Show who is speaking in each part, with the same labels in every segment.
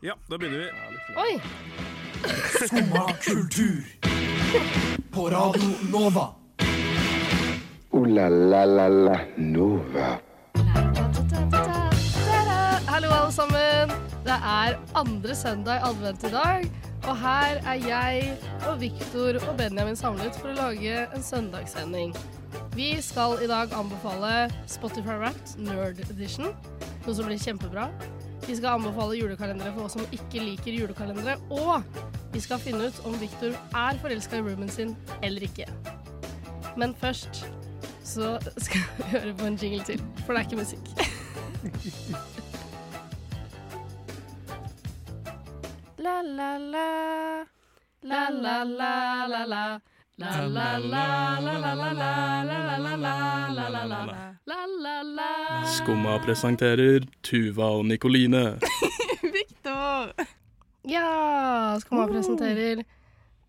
Speaker 1: Ja, da begynner vi.
Speaker 2: Oi!
Speaker 3: Skumma kultur. På Radio Nova.
Speaker 4: Ooh la la la la Nova.
Speaker 2: Ta-da! Hallo, alle sammen. Det er andre søndag i advent i dag. Og her er jeg og Viktor og Benjamin samlet for å lage en søndagssending. Vi skal i dag anbefale Spotify Wrapped Nerd Edition, noe som blir kjempebra. Vi skal anbefale julekalendere for oss som ikke liker julekalendere. Og vi skal finne ut om Viktor er forelska i roomien sin eller ikke. Men først så skal vi høre på en jingle til, for det er ikke musikk. La la la La la la la la La la la la la la la la la la la la la la La la la
Speaker 1: Skumma presenterer Tuva og Nikoline.
Speaker 5: Victor!
Speaker 2: Ja, skal man presentere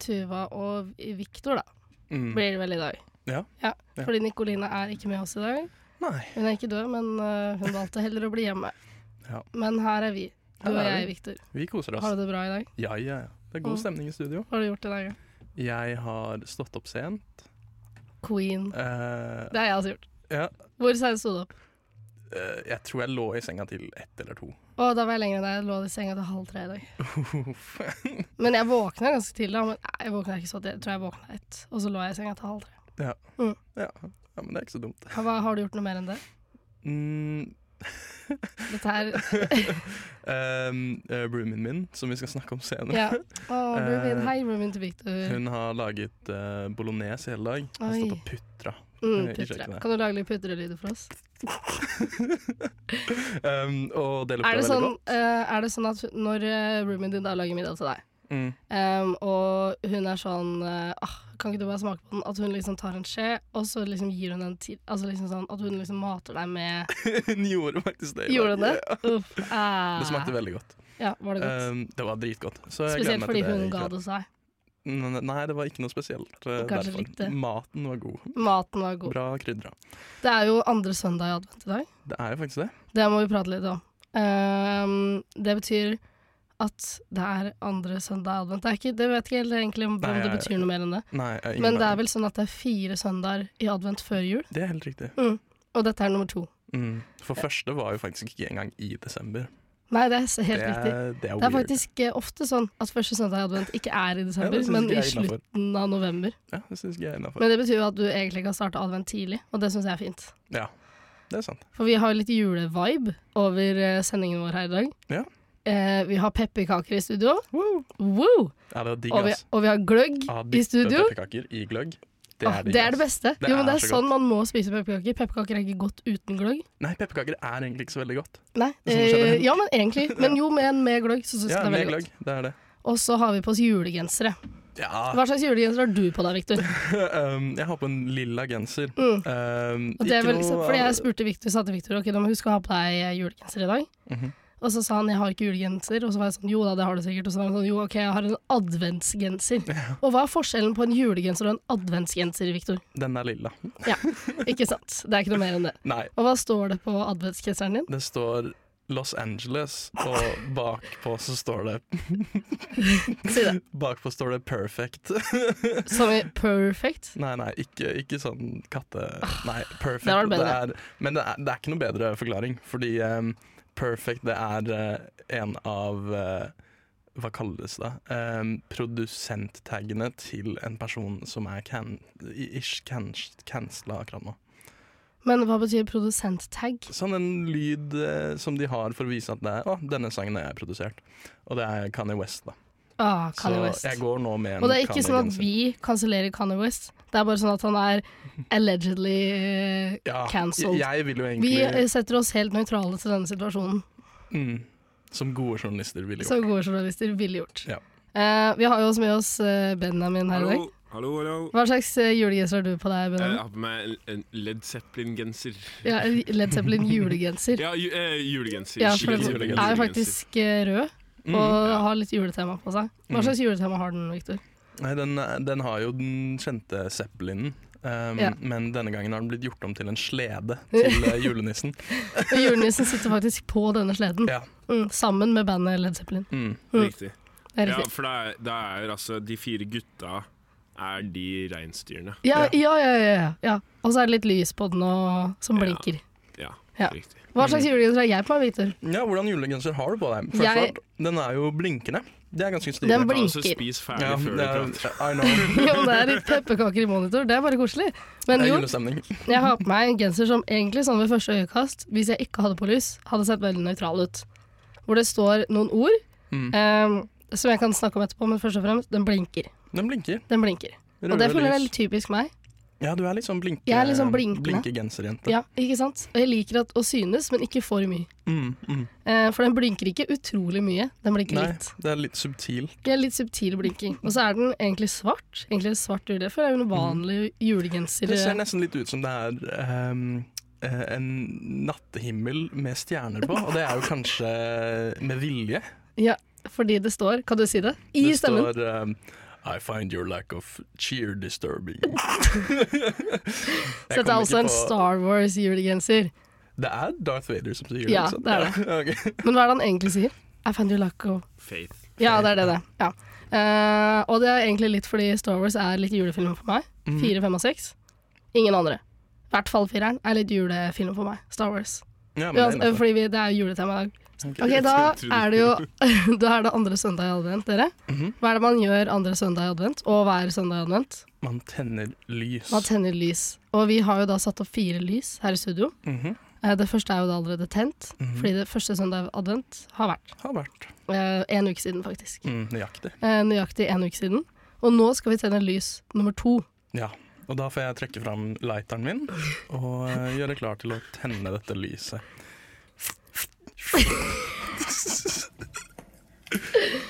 Speaker 2: Tuva og Viktor, da.
Speaker 1: Mm.
Speaker 2: Blir det vel i dag.
Speaker 1: Ja. Ja.
Speaker 2: Fordi Nikoline er ikke med oss i dag.
Speaker 1: Nei.
Speaker 2: Hun er ikke død, men øh, hun valgte heller å bli hjemme.
Speaker 1: Ja.
Speaker 2: Men her er vi. Du
Speaker 1: Her
Speaker 2: og
Speaker 1: er
Speaker 2: jeg,
Speaker 1: vi.
Speaker 2: Viktor.
Speaker 1: Vi koser oss.
Speaker 2: Har du Mm. det bra i dag?
Speaker 1: Ja, ja, ja. Det er god stemning i studio.
Speaker 2: Hva har du gjort i dag? da?
Speaker 1: Jeg har stått opp sent.
Speaker 2: Queen.
Speaker 1: Eh,
Speaker 2: Det har jeg også gjort.
Speaker 1: ja,
Speaker 2: Hvor seint sto du opp?
Speaker 1: eh, jeg tror jeg lå i senga til ett eller to.
Speaker 2: Å, da var jeg lenger enn deg. Jeg lå i senga til halv tre i dag.
Speaker 1: Uff.
Speaker 2: Men jeg våkna ganske tidlig. da, Men nei, jeg våkna ikke så tidlig. Jeg tror jeg våkna ett, og så lå jeg i senga til halv tre.
Speaker 1: ja. ja, men det er ikke så dumt.
Speaker 2: Hva, har du gjort noe mer enn det?
Speaker 1: Mm,
Speaker 2: Dette her
Speaker 1: um, eh, roomien min, som vi skal snakke om senere,
Speaker 2: Ja. Å, roomien. Hei, roomien til Viktor.
Speaker 1: Eh, hun har laget eh, bolognese i hele dag. Har
Speaker 2: Oi.
Speaker 1: stått og putra.
Speaker 2: Mm,
Speaker 1: eh, i
Speaker 2: putre.
Speaker 1: kjøkkenet.
Speaker 2: Kan du lage litt putrelyder for oss?
Speaker 1: Um, og det lukta
Speaker 2: Er det,
Speaker 1: veldig
Speaker 2: sånn,
Speaker 1: godt.
Speaker 2: eh, er det sånn at når eh, roomien din da lager middag til deg,
Speaker 1: Mm.
Speaker 2: Ehm, og hun er sånn eh, ah, Kan ikke du bare smake på den? At hun liksom tar en skje, og så liksom gir hun en til Altså liksom sånn at hun liksom mater deg med
Speaker 1: hun gjorde faktisk det. i dag.
Speaker 2: Gjorde hun det?
Speaker 1: Ja.
Speaker 2: Uff. ah.
Speaker 1: Det smakte veldig godt.
Speaker 2: Ja, var det godt?
Speaker 1: Um, det var dritgodt. Så jeg gleder
Speaker 2: Spesielt
Speaker 1: meg
Speaker 2: fordi
Speaker 1: til det
Speaker 2: hun
Speaker 1: i
Speaker 2: ga
Speaker 1: kveld.
Speaker 2: det seg.
Speaker 1: N- Nei, det var ikke noe spesielt. eh,
Speaker 2: Og kanskje litt det.
Speaker 1: derfor. Maten var god.
Speaker 2: Maten var god.
Speaker 1: Bra krydra.
Speaker 2: Det er jo andre søndag i advent i dag.
Speaker 1: Det er jo faktisk det.
Speaker 2: Det må vi prate litt om. Ehm, det betyr at det er andre søndag i advent. Det er ikke, det vet ikke helt egentlig om, om
Speaker 1: Nei,
Speaker 2: det
Speaker 1: jeg-
Speaker 2: betyr noe mer enn det.
Speaker 1: Nei, jeg har ingen
Speaker 2: Men det er
Speaker 1: peiling.
Speaker 2: vel sånn at det er fire søndager i advent før jul,
Speaker 1: Det er helt riktig.
Speaker 2: og dette er nummer to.
Speaker 1: Mm. For første var jo faktisk ikke engang i desember.
Speaker 2: Nei, det er helt
Speaker 1: det,
Speaker 2: riktig.
Speaker 1: er, det er
Speaker 2: Det er
Speaker 1: weird.
Speaker 2: faktisk eh, ofte sånn at første søndag i advent ikke er i desember,
Speaker 1: Ja, det synes
Speaker 2: men
Speaker 1: ikke
Speaker 2: i
Speaker 1: jeg er innenfor.
Speaker 2: slutten av november.
Speaker 1: Ja, det syns jeg er innafor.
Speaker 2: Men det betyr jo at du egentlig kan starte advent tidlig, og det syns jeg er fint.
Speaker 1: Ja, det er sant.
Speaker 2: For vi har jo litt julevibe over eh, sendingen vår her i dag.
Speaker 1: Ja.
Speaker 2: Eh, vi har pepperkaker i studio, Woo!
Speaker 1: Ja, det er digg,
Speaker 2: Og, vi,
Speaker 1: ass.
Speaker 2: og vi har gløgg
Speaker 1: Ja,
Speaker 2: i
Speaker 1: dyppe
Speaker 2: studio.
Speaker 1: Pepperkaker i gløgg.
Speaker 2: Det er, det, er det
Speaker 1: ass.
Speaker 2: beste.
Speaker 1: Det
Speaker 2: jo,
Speaker 1: er
Speaker 2: men det er
Speaker 1: så
Speaker 2: sånn man må spise pepperkaker. Pepperkaker er ikke godt uten gløgg.
Speaker 1: Nei, pepperkaker er egentlig ikke så veldig godt.
Speaker 2: Nei,
Speaker 1: Det er sånn
Speaker 2: eh,
Speaker 1: generelt.
Speaker 2: ja, men egentlig. Men jo, med, med gløgg så syns jeg
Speaker 1: Ja,
Speaker 2: det er
Speaker 1: med
Speaker 2: veldig
Speaker 1: gløgg.
Speaker 2: godt.
Speaker 1: Det er det.
Speaker 2: Og så har vi på oss julegensere.
Speaker 1: Ja.
Speaker 2: Hva slags julegenser har du på deg, Victor?
Speaker 1: um, jeg har på en lilla genser.
Speaker 2: Mm.
Speaker 1: Um,
Speaker 2: Og det er
Speaker 1: ikke
Speaker 2: vel,
Speaker 1: noe-
Speaker 2: så, fordi jeg spurte Victor, sa til Victor ok, da må huske å ha på deg eh, julegenser i dag.
Speaker 1: Mhm.
Speaker 2: Og så sa han jeg har ikke julegenser, og så var jeg sånn jo da, det har du sikkert. Og så var han sånn jo ok, jeg har en adventsgenser. Og hva er forskjellen på en julegenser og en adventsgenser, Victor?
Speaker 1: Den er lilla.
Speaker 2: Ikke sant? Det er ikke noe mer enn det.
Speaker 1: Nei,
Speaker 2: Og hva står det på adventsgenseren din?
Speaker 1: det står Los Angeles, og bakpå så står det
Speaker 2: Si det.
Speaker 1: Bakpå står det 'perfect'.
Speaker 2: Som i perfect.
Speaker 1: Nei, nei, ikke, ikke sånn katte... Nei, perfect.
Speaker 2: Ah, det var det
Speaker 1: er, men det er, det er ikke noe bedre forklaring, fordi em, perfect det er eh, en av eh, Hva kalles det? Em, produsenttaggene til en person som er can, ish cancela akkurat nå.
Speaker 2: Men hva betyr produsenttag?
Speaker 1: Sånn en lyd eh, som de har for å vise at det er Å, denne sangen er produsert. Og det er Kanye West, da.
Speaker 2: Ah, Kanye
Speaker 1: Så
Speaker 2: West.
Speaker 1: jeg går nå med en
Speaker 2: Og det er ikke sånn at
Speaker 1: Kanye-genser.
Speaker 2: vi kansellerer Kanye West. Det er bare sånn at han er allegedly eh,
Speaker 1: ja,
Speaker 2: cancelled.
Speaker 1: Jeg, jeg vil jo
Speaker 2: Vi
Speaker 1: egentlig
Speaker 2: eh, setter oss helt nøytrale til denne situasjonen,
Speaker 1: mm, Som gode journalister ville gjort.
Speaker 2: som gode journalister ville gjort.
Speaker 1: Ja.
Speaker 2: Eh, vi har jo også med oss eh, Benjamin her i dag.
Speaker 6: Hallo, hallo, hallo.
Speaker 2: Hva slags uh, julegenser har du på deg,
Speaker 6: Jeg
Speaker 2: Benjamin?
Speaker 6: har på meg en- en Led Zeppelin-genser.
Speaker 2: Ja, en Led Zeppelin julegenser.
Speaker 6: Ja, ju, eh, julegenser.
Speaker 2: Ja, for
Speaker 6: Skikkelig
Speaker 2: den
Speaker 6: julegenser.
Speaker 2: er jo faktisk eh, rød,
Speaker 1: Mm,
Speaker 2: og
Speaker 6: ja.
Speaker 2: har litt juletema på seg. Hva slags juletema har den, Victor?
Speaker 1: Nei, den, den har jo den kjente Zeppelinen. Um,
Speaker 2: Ja.
Speaker 1: Men denne gangen har den blitt gjort om til en slede til eh, julenissen.
Speaker 2: Og julenissen sitter faktisk på denne sleden,
Speaker 1: Ja.
Speaker 2: mm, sammen med bandet Led Zeppelin.
Speaker 1: Mm.
Speaker 6: Riktig.
Speaker 2: Det er
Speaker 6: Ja,
Speaker 2: riktig.
Speaker 6: for det er, det er altså De fire gutta er de reinsdyrene.
Speaker 2: Ja, ja, ja. ja, ja, ja. Og så er det litt lys på den og, som
Speaker 6: Ja.
Speaker 2: blinker.
Speaker 6: Ja,
Speaker 2: Ja.
Speaker 6: riktig.
Speaker 2: Hva
Speaker 1: Mm.
Speaker 2: slags julegenser har jeg på meg, Victor?
Speaker 1: ja, Hvordan julegenser har du på deg? Først
Speaker 2: Jeg-
Speaker 1: og fremst, Den er jo blinkende. Det er ganske stilig.
Speaker 2: Den
Speaker 6: Ta og så
Speaker 2: blinker.
Speaker 6: spis ferdig
Speaker 1: Ja,
Speaker 6: før du
Speaker 1: det er,
Speaker 6: prater.
Speaker 1: I know.
Speaker 2: Jo, men det er litt pepperkaker i monitor, det er bare koselig. Men
Speaker 1: Det er
Speaker 2: jo,
Speaker 1: julestemning.
Speaker 2: jeg har på meg en genser som egentlig sånn ved første øyekast, hvis jeg ikke hadde på lys, hadde sett veldig nøytral ut. Hvor det står noen ord,
Speaker 1: Mm.
Speaker 2: eh, som jeg kan snakke om etterpå, men først og fremst, den blinker.
Speaker 1: Den blinker.
Speaker 2: Den blinker. Og det
Speaker 1: Røde
Speaker 2: føler jeg er
Speaker 1: lys.
Speaker 2: litt typisk meg.
Speaker 1: Ja, du er litt sånn blinke,
Speaker 2: Jeg er litt sånn blinkende.
Speaker 1: blinkegenserjente.
Speaker 2: Ja, ikke sant? Og jeg liker at, å synes, men ikke for mye.
Speaker 1: Mm, mm.
Speaker 2: Eh, for den blinker ikke utrolig mye, den blinker
Speaker 1: Nei,
Speaker 2: litt.
Speaker 1: det er litt subtil.
Speaker 2: Det er litt subtil blinking. Og så er den egentlig svart. Egentlig en svart jule. For det er jo en vanlig julegenser.
Speaker 1: Mhm.
Speaker 2: eh,
Speaker 1: Det ser nesten litt ut som det er ehm, eh, en nattehimmel med stjerner på, og det er jo kanskje med vilje.
Speaker 2: Ja, fordi det står Kan du si det? I
Speaker 1: det
Speaker 2: stemmen.
Speaker 1: står ehm, I find your lack of cheer disturbing.
Speaker 2: Så dette er altså en Star Wars-julegenser.
Speaker 1: Det er Darth Vader som sier
Speaker 2: Ja,
Speaker 1: det.
Speaker 2: det er
Speaker 1: det.
Speaker 2: Men hva er det han egentlig sier? I find you luck of
Speaker 6: Faith.
Speaker 2: Ja, det er det det. Ja. Eh, og det er egentlig litt fordi Star Wars er litt julefilm for meg.
Speaker 1: Mhm.
Speaker 2: Fire, fem og seks. Ingen andre. I hvert fall fireren er litt julefilm for meg. Star Wars.
Speaker 1: Ja, men det
Speaker 2: Ja,
Speaker 1: er innenfor.
Speaker 2: fordi vi, det er jo juletema i dag. Ok, da er det jo Da er det andre søndag i advent, dere.
Speaker 1: Mhm.
Speaker 2: Hva er det man gjør andre søndag i advent, og hver søndag i advent?
Speaker 1: Man tenner lys.
Speaker 2: Man tenner lys. Og vi har jo da satt opp fire lys her i studio.
Speaker 1: Mhm.
Speaker 2: Eh, Det første er jo da allerede tent, fordi det første søndag i advent har vært.
Speaker 1: Har vært
Speaker 2: Eh, En uke siden, faktisk.
Speaker 1: mm, nøyaktig.
Speaker 2: Eh, Nøyaktig en uke siden. Og nå skal vi tenne lys nummer to.
Speaker 1: Ja. Og da får jeg trekke fram lighteren min og eh, gjøre klar til å tenne dette lyset.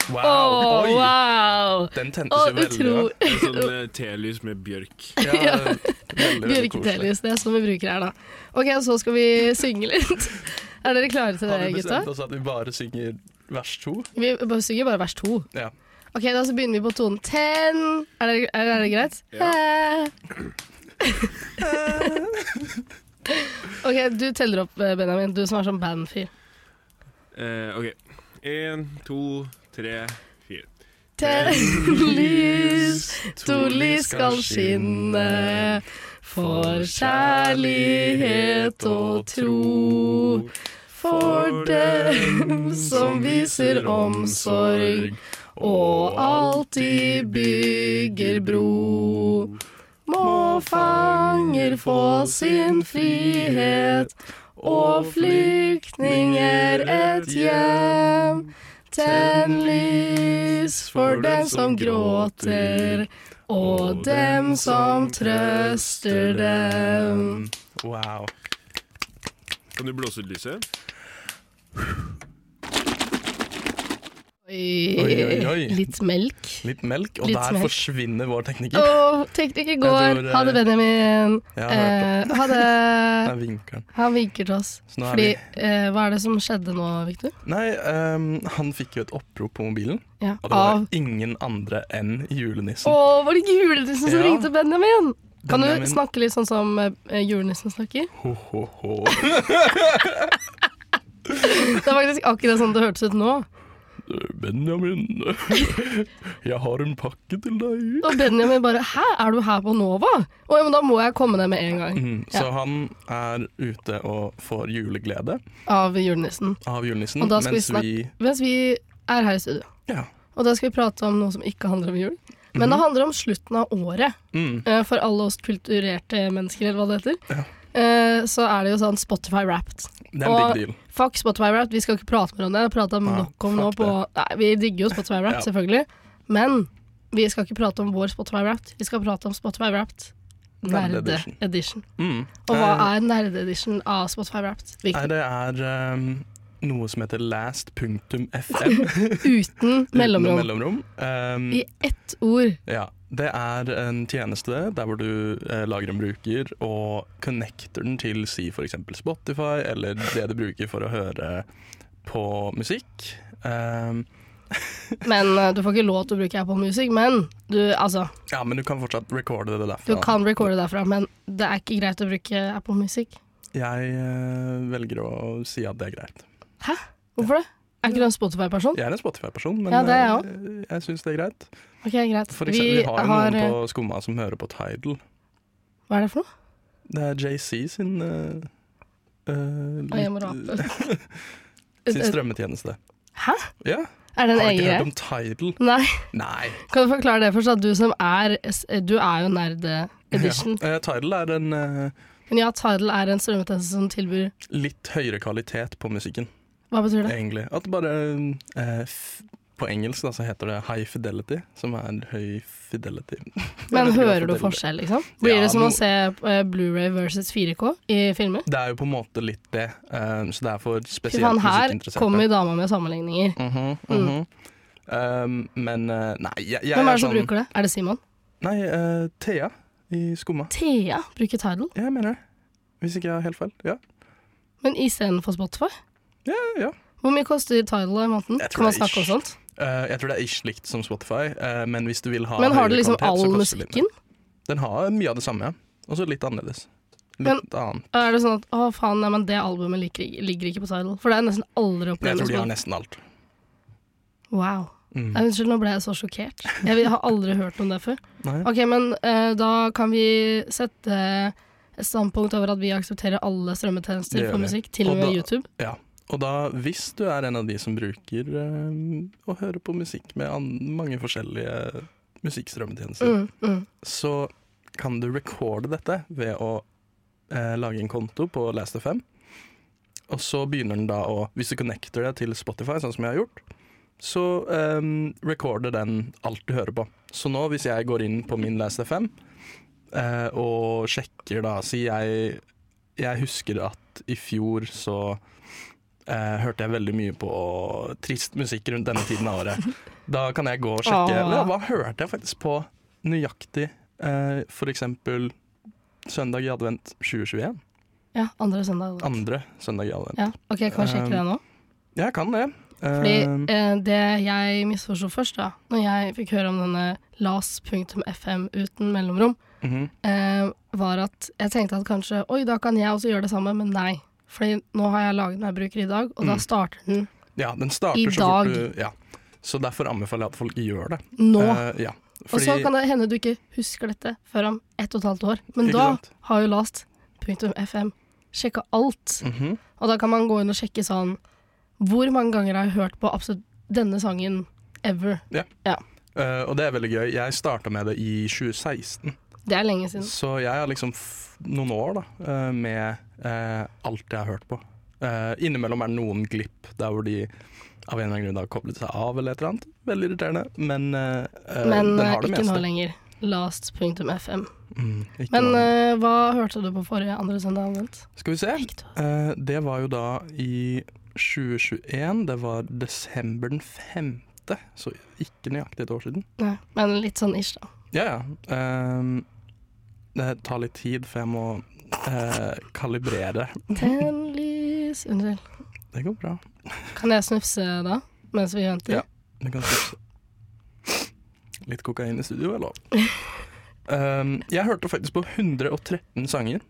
Speaker 1: Wow! Oi!
Speaker 2: wow!
Speaker 1: Den tentes
Speaker 2: Og
Speaker 1: jo veldig
Speaker 2: utro...
Speaker 1: bra.
Speaker 6: En Sånn eh, telys med bjørk.
Speaker 1: Ja, veldig, veldig koselig.
Speaker 2: Bjørketelys, det er sånn vi bruker her, da. Ok, og så skal vi synge litt. Er dere klare til
Speaker 1: Har vi
Speaker 2: det, gutta?
Speaker 1: bestemt oss at vi bare synger vers to?
Speaker 2: Vi bare synger bare vers to.
Speaker 1: Ja.
Speaker 2: Ok, da så begynner vi på tonen ten. Er det, er, er det greit?
Speaker 6: Ja.
Speaker 2: Eh. ok, du teller opp, eh, Benjamin. Du som er sånn bandfyr.
Speaker 6: Eh, OK. Én, to, tre, fire.
Speaker 2: Ten lys, to lys skal skinne for kjærlighet og tro. For dem som viser omsorg og alltid bygger bro. Må fanger få sin frihet og flyktninger et hjem. Tenn lys for dem som gråter, og dem som trøster dem.
Speaker 1: Wow.
Speaker 6: Kan du blåse ut lyset?
Speaker 1: Oi, oi, oi.
Speaker 2: Litt melk.
Speaker 1: Litt melk, og
Speaker 2: Litt
Speaker 1: der
Speaker 2: melk.
Speaker 1: forsvinner vår tekniker.
Speaker 2: Åh, tekniker går.
Speaker 1: Jeg tror, eh,
Speaker 2: Ha det, Benjamin.
Speaker 1: Ja,
Speaker 2: Eh, ha
Speaker 1: Der
Speaker 2: det.
Speaker 1: vinker han.
Speaker 2: Han vinker til oss.
Speaker 1: Så nå er
Speaker 2: Fordi, eh, hva er det som skjedde nå, Victor?
Speaker 1: Nei, ehm, han fikk jo et opprop på mobilen,
Speaker 2: Ja,
Speaker 1: og det var
Speaker 2: av
Speaker 1: ingen andre enn julenissen.
Speaker 2: Å, var det julenissen som
Speaker 1: Ja.
Speaker 2: ringte Benjamin? Kan
Speaker 1: Benjamin.
Speaker 2: du snakke litt sånn som eh, julenissen snakker?
Speaker 1: Ho, ho, ho.
Speaker 2: Det er faktisk akkurat sånn det hørtes ut nå.
Speaker 1: Benjamin, jeg har en pakke til deg.
Speaker 2: Og Benjamin bare 'hæ, er du her på Nova?' Å ja, men da må jeg komme ned med en gang.
Speaker 1: Mm, så han er ute og får juleglede
Speaker 2: Av julenissen.
Speaker 1: av julenissen,
Speaker 2: Og da skal vi
Speaker 1: Mm, mens vi,
Speaker 2: snakke- Mens vi er her i studio.
Speaker 1: Ja.
Speaker 2: Og da skal vi prate om noe som ikke handler om jul. Men
Speaker 1: Mhm.
Speaker 2: det handler om slutten av året.
Speaker 1: Mm.
Speaker 2: Eh, For alle oss kulturerte mennesker, eller hva det heter. Eh, Så er det jo sånn Spotify Wrapped.
Speaker 1: Det er en
Speaker 2: Og-
Speaker 1: big deal.
Speaker 2: Fuck Spotify Wrapped, vi skal ikke prate mer om det. Jeg har pratet
Speaker 1: Nei,
Speaker 2: nok om nå
Speaker 1: Ah, fuck
Speaker 2: på Nei, vi digger jo Spotify Wrapped,
Speaker 1: Ja.
Speaker 2: selvfølgelig. Men vi skal ikke prate om vår Spotify Wrapped. Vi skal prate om Spotify Wrapped Nerde
Speaker 1: Nerde-edition.
Speaker 2: Edition.
Speaker 1: Mm.
Speaker 2: Og hva
Speaker 1: Eh,
Speaker 2: er Nerde Edition av Spotify Wrapped?
Speaker 1: Nei,
Speaker 2: Victor?
Speaker 1: det er ehm, noe som heter last.fm.
Speaker 2: Uten
Speaker 1: Utenom
Speaker 2: mellomrom.
Speaker 1: mellomrom. Ehm,
Speaker 2: I ett ord.
Speaker 1: Ja, det er en tjeneste der hvor du eh, lager en bruker og connecter den til si for eksempel Spotify, eller det du bruker for å høre på musikk. Ehm,
Speaker 2: Men eh, du får ikke lov til å bruke Apple Music, men du, altså,
Speaker 1: Ja, men du kan fortsatt recorde det
Speaker 2: du
Speaker 1: derfra.
Speaker 2: kan recorde derfra, men det er ikke greit å bruke Apple Music.
Speaker 1: Jeg eh, velger å si at det er greit.
Speaker 2: Hæ? Hvorfor det? Er ikke du en Spotify-person?
Speaker 1: Jeg er en Spotify-person, men
Speaker 2: Ja, det er
Speaker 1: eh, jeg, syns det er greit.
Speaker 2: Ok, greit.
Speaker 1: For eksempel, vi, har jo
Speaker 2: eh,
Speaker 1: noen på Skumma som hører på Tidal.
Speaker 2: Hva er det for noe?
Speaker 1: Det er JC sin eh, eh,
Speaker 2: Å, Eh, jeg må
Speaker 1: litt-
Speaker 2: rape.
Speaker 1: sin strømmetjeneste.
Speaker 2: Hæ?
Speaker 1: Ja,
Speaker 2: Er det
Speaker 1: Har
Speaker 2: en
Speaker 1: du
Speaker 2: egen
Speaker 1: ikke hørt
Speaker 2: greie?
Speaker 1: om Tidal?
Speaker 2: Nei.
Speaker 1: Nei.
Speaker 2: Kan du forklare det først, at du som er Du er jo nerd edition.
Speaker 1: Ja. Eh, Tidal er en eh,
Speaker 2: Men ja, Tidal er en strømmetjeneste som tilbyr
Speaker 1: litt høyere kvalitet på musikken,
Speaker 2: Hva betyr det?
Speaker 1: egentlig. At bare eh, f På engelsk da, så heter det high fidelity, som er høy fidelity. Jeg
Speaker 2: Men
Speaker 1: vet ikke hva
Speaker 2: hører du
Speaker 1: fidelity-
Speaker 2: forskjell, liksom? Blir
Speaker 1: Ja,
Speaker 2: det som
Speaker 1: no-
Speaker 2: å se eh, Blu-ray versus 4K i filmer?
Speaker 1: Det er jo på en måte litt det, eh, så det er for
Speaker 2: Fy
Speaker 1: spesielt
Speaker 2: faen, her
Speaker 1: musikkinteresserte.
Speaker 2: kommer dama med sammenligninger.
Speaker 1: Mhm, mhm. Um, men eh, nei, jeg, jeg
Speaker 2: Hvem er det som
Speaker 1: sånn
Speaker 2: bruker det? Er det Simon?
Speaker 1: Nei, eh, Thea i Skumma.
Speaker 2: Thea bruker Tidal,
Speaker 1: Ja, jeg mener det. Hvis ikke jeg har helt feil. Ja.
Speaker 2: men istedenfor Spotify?
Speaker 1: ja, ja.
Speaker 2: Hvor mye koster Tidal i måneden?
Speaker 1: Jeg tror
Speaker 2: Kan man
Speaker 1: det er
Speaker 2: snakke om
Speaker 1: ish.
Speaker 2: sånt?
Speaker 1: Eh, jeg tror det er ish likt som Spotify, eh, men hvis du vil ha
Speaker 2: Men har
Speaker 1: høyere
Speaker 2: det liksom
Speaker 1: kvalitet, så
Speaker 2: all
Speaker 1: koster det litt mer.
Speaker 2: musikken?
Speaker 1: Den har mye av det samme, ja. Og så litt annerledes.
Speaker 2: Men-
Speaker 1: Litt annet.
Speaker 2: Er det sånn at å faen, nei, men det albumet ligger, ligger ikke på Tidal? For det er nesten aldri
Speaker 1: Jeg tror de har
Speaker 2: opplevd.
Speaker 1: nesten alt.
Speaker 2: Wow.
Speaker 1: Mm.
Speaker 2: Nei, Unnskyld, nå ble jeg så sjokkert. Jeg vil- har aldri hørt om det før.
Speaker 1: Nei.
Speaker 2: Ok, men eh, da kan vi sette eh, et standpunkt over at vi aksepterer alle strømmetjenester
Speaker 1: Det gjør
Speaker 2: for
Speaker 1: vi.
Speaker 2: musikk, til og
Speaker 1: Og
Speaker 2: med
Speaker 1: da-
Speaker 2: YouTube.
Speaker 1: Ja. Og da, hvis du er en av de som bruker eh, å høre på musikk med an mange forskjellige musikkstrømmetjenester,
Speaker 2: Mm, mm.
Speaker 1: så kan du recorde dette ved å eh, lage en konto på Last.fm. Og så begynner den da å Hvis du connecter det til Spotify, sånn som jeg har gjort, så um, recorder den alt du hører på. Så nå, hvis jeg går inn på min Last.fm eh, og sjekker, da Si jeg Jeg husker at i fjor så eh, hørte jeg veldig mye på trist musikk rundt denne tiden av året. Da kan jeg gå og sjekke
Speaker 2: Åh.
Speaker 1: ja, Hva hørte jeg faktisk på nøyaktig eh, for eksempel søndag i advent 2021.
Speaker 2: Ja, andre søndag. da.
Speaker 1: Andre søndag i advent.
Speaker 2: Ja, ok, kan vi sjekke
Speaker 1: Um,
Speaker 2: det nå?
Speaker 1: Jeg kan det.
Speaker 2: Fordi
Speaker 1: Eh,
Speaker 2: eh, det jeg misforsto først, da, når jeg fikk høre om denne las.fm uten mellomrom,
Speaker 1: mhm.
Speaker 2: eh, var at jeg tenkte at kanskje oi, da kan jeg også gjøre det samme, men nei. Fordi nå har jeg laget meg bruker i dag, og da
Speaker 1: Mm.
Speaker 2: starter den
Speaker 1: Ja, den starter
Speaker 2: I
Speaker 1: så fort
Speaker 2: dag.
Speaker 1: du ja. Så derfor anbefaler jeg at folk gjør det.
Speaker 2: nå.
Speaker 1: Eh, ja.
Speaker 2: Og
Speaker 1: Fordi
Speaker 2: så kan det hende du ikke husker dette før om ett og et halvt år. Men
Speaker 1: Ikke
Speaker 2: da
Speaker 1: sant?
Speaker 2: har jo last.fm sjekka alt.
Speaker 1: Mhm.
Speaker 2: Og da kan man gå inn og sjekke sånn Hvor mange ganger har jeg hørt på absolutt denne sangen ever?
Speaker 1: Eh, Og det er veldig gøy. Jeg starta med det i 2016,
Speaker 2: Det er lenge siden.
Speaker 1: så jeg har liksom f noen år da eh, med eh, alt jeg har hørt på. Eh, innimellom er det noen glipp der hvor de av en eller annen grunn har koblet seg av eller et eller annet. Veldig irriterende, men, eh, eh,
Speaker 2: Men
Speaker 1: den
Speaker 2: eh,
Speaker 1: har det
Speaker 2: ikke nå
Speaker 1: meste.
Speaker 2: lenger. Last.fm.
Speaker 1: Mm, ikke
Speaker 2: Men
Speaker 1: noe-
Speaker 2: eh, hva hørte du på forrige andre søndag anvendt?
Speaker 1: Skal vi se. Eh, det var jo da i 2021. Det var desember den 5., så ikke nøyaktig et år siden.
Speaker 2: Nei, men litt sånn ish, da.
Speaker 1: Ja, ja. Ehm, det tar litt tid, for jeg må eh, kalibrere.
Speaker 2: Ten lys Unnskyld.
Speaker 1: Det går bra.
Speaker 2: Kan jeg snufse da, mens vi venter?
Speaker 1: Ja. Du kan se. Litt kokain i studio er lov. Ehm, jeg hørte faktisk på 113 sanger.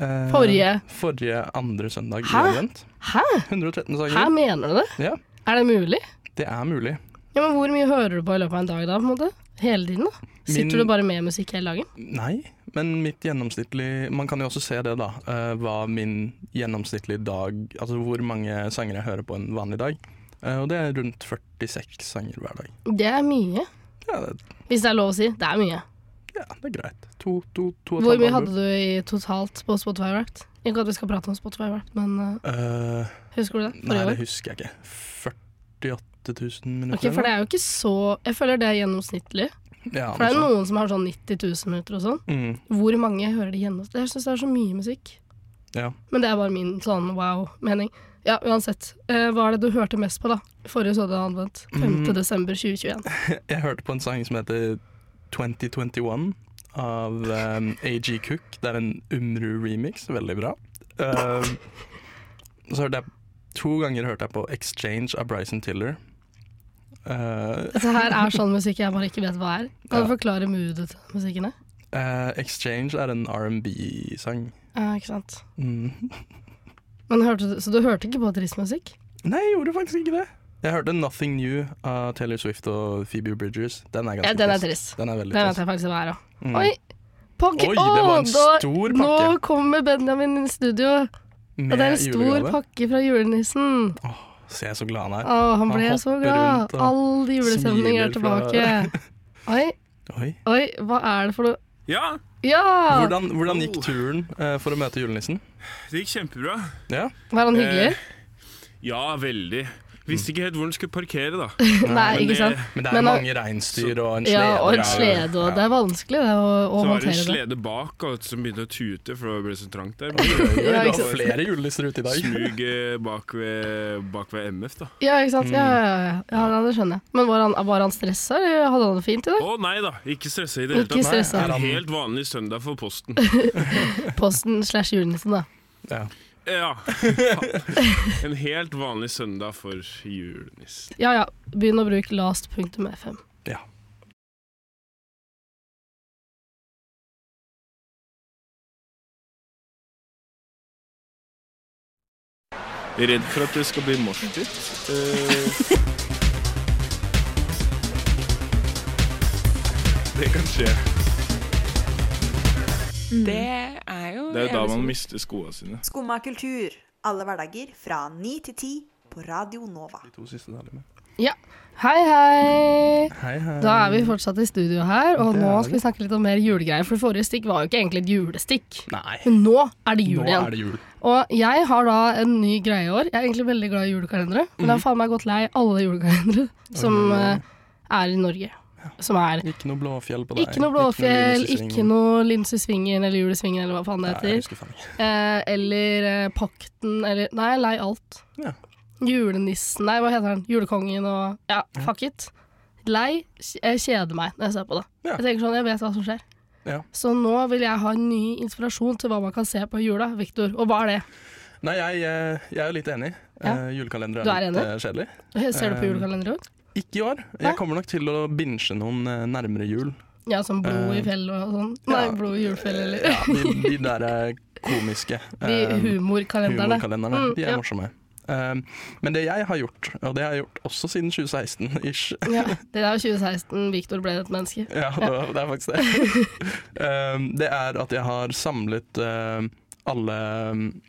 Speaker 1: eh,
Speaker 2: Forrige?
Speaker 1: Forrige andre søndag. i
Speaker 2: Hæ?
Speaker 1: advent.
Speaker 2: Hæ?
Speaker 1: 113 sanger.
Speaker 2: Hæ, mener du det?
Speaker 1: Ja.
Speaker 2: Er det mulig?
Speaker 1: Det er mulig.
Speaker 2: Ja, men Hvor mye hører du på i løpet av en dag da? på en måte? Hele tiden? da? Sitter
Speaker 1: Min-
Speaker 2: du bare med musikk hele dagen?
Speaker 1: Nei, men mitt gjennomsnittlig Man kan jo også se det, da. eh, hva min gjennomsnittlige dag Altså hvor mange sanger jeg hører på en vanlig dag. Eh, og det er rundt 46 sanger hver dag.
Speaker 2: Det er mye.
Speaker 1: Ja, det,
Speaker 2: Hvis det er lov å si. Det er mye.
Speaker 1: ja, det er greit. To, to, to og et
Speaker 2: Hvor
Speaker 1: halvt
Speaker 2: mye
Speaker 1: album.
Speaker 2: hadde du i totalt på Spotify Wrapped? Ikke at vi skal prate om Spotify Wrapped, men eh,
Speaker 1: Eh,
Speaker 2: husker du det?
Speaker 1: nei, det
Speaker 2: Forrige år?
Speaker 1: husker jeg ikke. 48 000 minutter?
Speaker 2: Ok, For det er jo ikke så Jeg føler det er gjennomsnittlig.
Speaker 1: ja,
Speaker 2: For det er
Speaker 1: noe
Speaker 2: noen som har sånn 90 000 minutter og sånn.
Speaker 1: sånt. Mm,
Speaker 2: Hvor mange hører de gjennomsnittlig? Jeg syns det er så mye musikk.
Speaker 1: ja.
Speaker 2: Men det er bare min sånn wow-mening. Ja, uansett. Eh, hva er det du hørte mest på, da? Forrige søndag anvendt. 5.
Speaker 1: Mm.
Speaker 2: desember 2021.
Speaker 1: Jeg hørte på en sang som heter 2021 av um, AG Cook. Det er en Umru-remix. Veldig bra. Um, så hørte jeg To ganger hørte jeg på Exchange av Bryson Tiller. Eh,
Speaker 2: Dette her er sånn musikk jeg bare ikke vet hva er. Kan du forklare moodet til musikkene?
Speaker 1: eh, Exchange er en R&B-sang.
Speaker 2: Ja, ikke sant.
Speaker 1: Mm.
Speaker 2: Men hørte du, så du hørte ikke på trist musikk?
Speaker 1: Nei, jeg gjorde faktisk ikke det. Jeg hørte 'Nothing New' av Taylor Swift og Phoebe Bridgers. Den er ganske
Speaker 2: Ja, den er trist.
Speaker 1: Den er veldig
Speaker 2: Det vet
Speaker 1: trist.
Speaker 2: jeg faktisk hva er òg.
Speaker 1: Mm.
Speaker 2: Oi! Pakke.
Speaker 1: Oi, det var en
Speaker 2: Å, da-
Speaker 1: stor
Speaker 2: Nå
Speaker 1: pakke.
Speaker 2: kommer Benjamin i studio, og det er en
Speaker 1: Mm. Med
Speaker 2: stor
Speaker 1: julegave.
Speaker 2: pakke fra julenissen.
Speaker 1: Se så glad han er.
Speaker 2: Å, han ble
Speaker 1: Han
Speaker 2: så
Speaker 1: hopper rundt
Speaker 2: glad.
Speaker 1: og
Speaker 2: All julestemning er
Speaker 1: smiler fra-
Speaker 2: tilbake. Oi,
Speaker 1: Oi.
Speaker 2: oi, hva er det for noe
Speaker 6: Ja,
Speaker 2: Ja!
Speaker 1: Hvordan, hvordan gikk turen eh, for å møte julenissen?
Speaker 6: det gikk kjempebra.
Speaker 1: Ja,
Speaker 2: Var han hyggelig?
Speaker 6: Ja, veldig.
Speaker 1: Mm.
Speaker 6: Visste ikke helt hvor den skulle parkere, da.
Speaker 2: Nei,
Speaker 6: men
Speaker 2: ikke
Speaker 6: det-
Speaker 2: sant.
Speaker 1: Men det er
Speaker 2: Men han-
Speaker 1: mange reinsdyr og en slede.
Speaker 2: Ja, og en
Speaker 6: ja,
Speaker 2: slede, og det er vanskelig det, å, å
Speaker 6: Så var det en
Speaker 2: håndtere det.
Speaker 6: slede bak og som begynte å tute, for det ble så trangt der.
Speaker 1: Vi
Speaker 2: Ja,
Speaker 1: har
Speaker 2: ikke sant.
Speaker 1: flere julenisser ute i dag.
Speaker 6: Smug eh, bak ved, bak ved MF, da.
Speaker 2: Ja, ikke sant. Ja, ja, ja, ja, ja det skjønner jeg. Men var han, var han stressa, eller hadde han det fint i
Speaker 6: Å
Speaker 2: dag?
Speaker 6: nei da, ikke stressa i det hele
Speaker 2: Ikke
Speaker 6: tatt.
Speaker 2: stressa.
Speaker 6: En helt vanlig søndag for Posten.
Speaker 2: Posten slash julenissen, da.
Speaker 1: Ja.
Speaker 6: Ja. En helt vanlig søndag for julenissen.
Speaker 2: Ja ja, begynn å bruke last.fm.
Speaker 1: Ja.
Speaker 6: Redd for at det skal bli morsdytt. Eh, det kan skje.
Speaker 5: Det er
Speaker 6: Det er
Speaker 5: jo
Speaker 6: jo da
Speaker 5: jævlig
Speaker 6: man
Speaker 5: skummelt.
Speaker 6: mister skoa sine.
Speaker 7: Skumma kultur. Alle hverdager fra 9 til 10 på Radio Nova.
Speaker 1: De to siste der med.
Speaker 2: Hei, hei!
Speaker 1: Hei, hei.
Speaker 2: Da er vi fortsatt i studio her, og
Speaker 1: Det
Speaker 2: nå
Speaker 1: er
Speaker 2: skal vi
Speaker 1: vi.
Speaker 2: snakke litt om mer julegreier. For forrige stikk var jo ikke egentlig et julestikk.
Speaker 1: Nei,
Speaker 2: Men nå er det jul
Speaker 1: nå er
Speaker 2: igjen.
Speaker 1: det jul.
Speaker 2: Og jeg har da en ny greie i år. Jeg er egentlig veldig glad i julekalendere, men jeg
Speaker 1: Mhm.
Speaker 2: har faen meg gått lei alle julekalendere som eh, er i Norge. Som er
Speaker 1: Ikke noe blåfjell på deg.
Speaker 2: ikke noe Blåfjell,
Speaker 1: Lindesesvingen.
Speaker 2: ikke noe Linsesvingen eller Julesvingen eller hva faen det
Speaker 1: Nei, jeg
Speaker 2: heter.
Speaker 1: husker faen ikke.
Speaker 2: Eh, eller eh, Pakten, eller Nei, jeg er lei alt.
Speaker 1: Ja.
Speaker 2: Julenissen, nei, hva heter den? Julekongen og Ja, fuck it. Lei. kj- Jeg kjeder meg når jeg ser på det.
Speaker 1: Ja.
Speaker 2: Jeg tenker sånn, jeg vet hva som skjer.
Speaker 1: Ja.
Speaker 2: Så nå vil jeg ha en ny inspirasjon til hva man kan se på i jula, Victor. Og hva er det?
Speaker 1: Nei, jeg, eh, jeg er jo litt enig.
Speaker 2: Ja.
Speaker 1: Eh, Julekalender
Speaker 2: Du er
Speaker 1: er, litt
Speaker 2: enig?
Speaker 1: eh, kjedelig.
Speaker 2: Ser du på
Speaker 1: Eh,
Speaker 2: julekalenderen òg?
Speaker 1: Ikke i år.
Speaker 2: Nei.
Speaker 1: Jeg kommer nok til å binche noen eh, nærmere jul.
Speaker 2: Ja, sånn blod i
Speaker 1: eh,
Speaker 2: fjell og sånn.
Speaker 1: ja.
Speaker 2: Nei, blod i julefjell, eller
Speaker 1: Ja, de, de der eh, komiske eh,
Speaker 2: De humorkalenderne.
Speaker 1: humorkalenderne.
Speaker 2: Mm,
Speaker 1: De er
Speaker 2: ja.
Speaker 1: morsomme. Eh, men det jeg har gjort, og det har jeg gjort også siden 2016-ish,
Speaker 2: Ja, det der var 2016 Victor ble et menneske.
Speaker 1: Ja, det, var- det er faktisk det. um, det er at jeg har samlet um, alle um,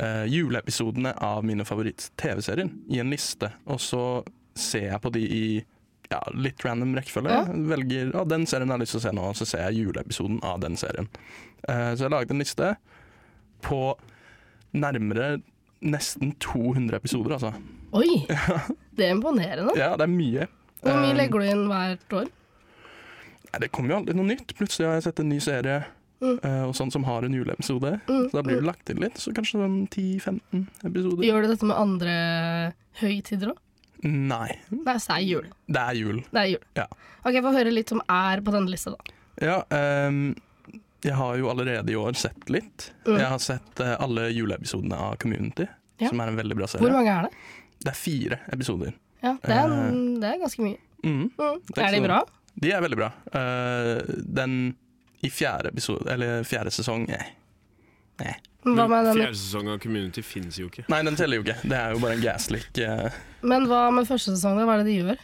Speaker 1: eh, juleepisodene av mine favoritt-TV-serier i en liste, og så ser jeg på de i ja, litt random rekkefølge.
Speaker 2: Ja.
Speaker 1: Jeg Velger «Å, den serien har jeg lyst til å se nå, og så ser jeg juleepisoden av den serien. Eh, så jeg laget en liste på nærmere nesten 200 episoder, altså.
Speaker 2: Oi! Det er imponerende.
Speaker 1: Ja, det er mye.
Speaker 2: Hvor mye
Speaker 1: Um,
Speaker 2: legger du inn hvert år?
Speaker 1: Nei, det kommer jo alltid noe nytt. Plutselig har jeg sett en ny serie
Speaker 2: Mm.
Speaker 1: eh, og sånn som har en juleepisode. Så
Speaker 2: Mm,
Speaker 1: da blir det lagt til litt. Så kanskje sånn 10-15 episoder.
Speaker 2: Gjør du dette med andre høytider òg?
Speaker 1: Nei,
Speaker 2: Nei, så er jul.
Speaker 1: det er jul.
Speaker 2: Det er jul.
Speaker 1: Mm. Ja.
Speaker 2: Ok, Få høre litt som er på denne lista, da.
Speaker 1: Ja, ehm, jeg har jo allerede i år sett litt.
Speaker 2: Mm.
Speaker 1: Jeg har sett eh, alle juleepisodene av Community,
Speaker 2: Ja.
Speaker 1: som er en veldig bra
Speaker 2: Hvor
Speaker 1: serie.
Speaker 2: mange er det?
Speaker 1: Det er fire episoder.
Speaker 2: Ja, Det er, det er ganske mye.
Speaker 1: Mm.
Speaker 2: Mm.
Speaker 1: er
Speaker 2: Er de
Speaker 1: ikke
Speaker 2: bra?
Speaker 1: De er veldig bra. Eh, den i fjerde episode, eller fjerde sesong eh.
Speaker 2: Hva med den?
Speaker 6: Fjerde sesong av Community fins jo ikke.
Speaker 1: Nei, den teller jo ikke. Det er jo bare en gaslick. eh.
Speaker 2: Men hva med første sesong? da? Hva er det de gjør?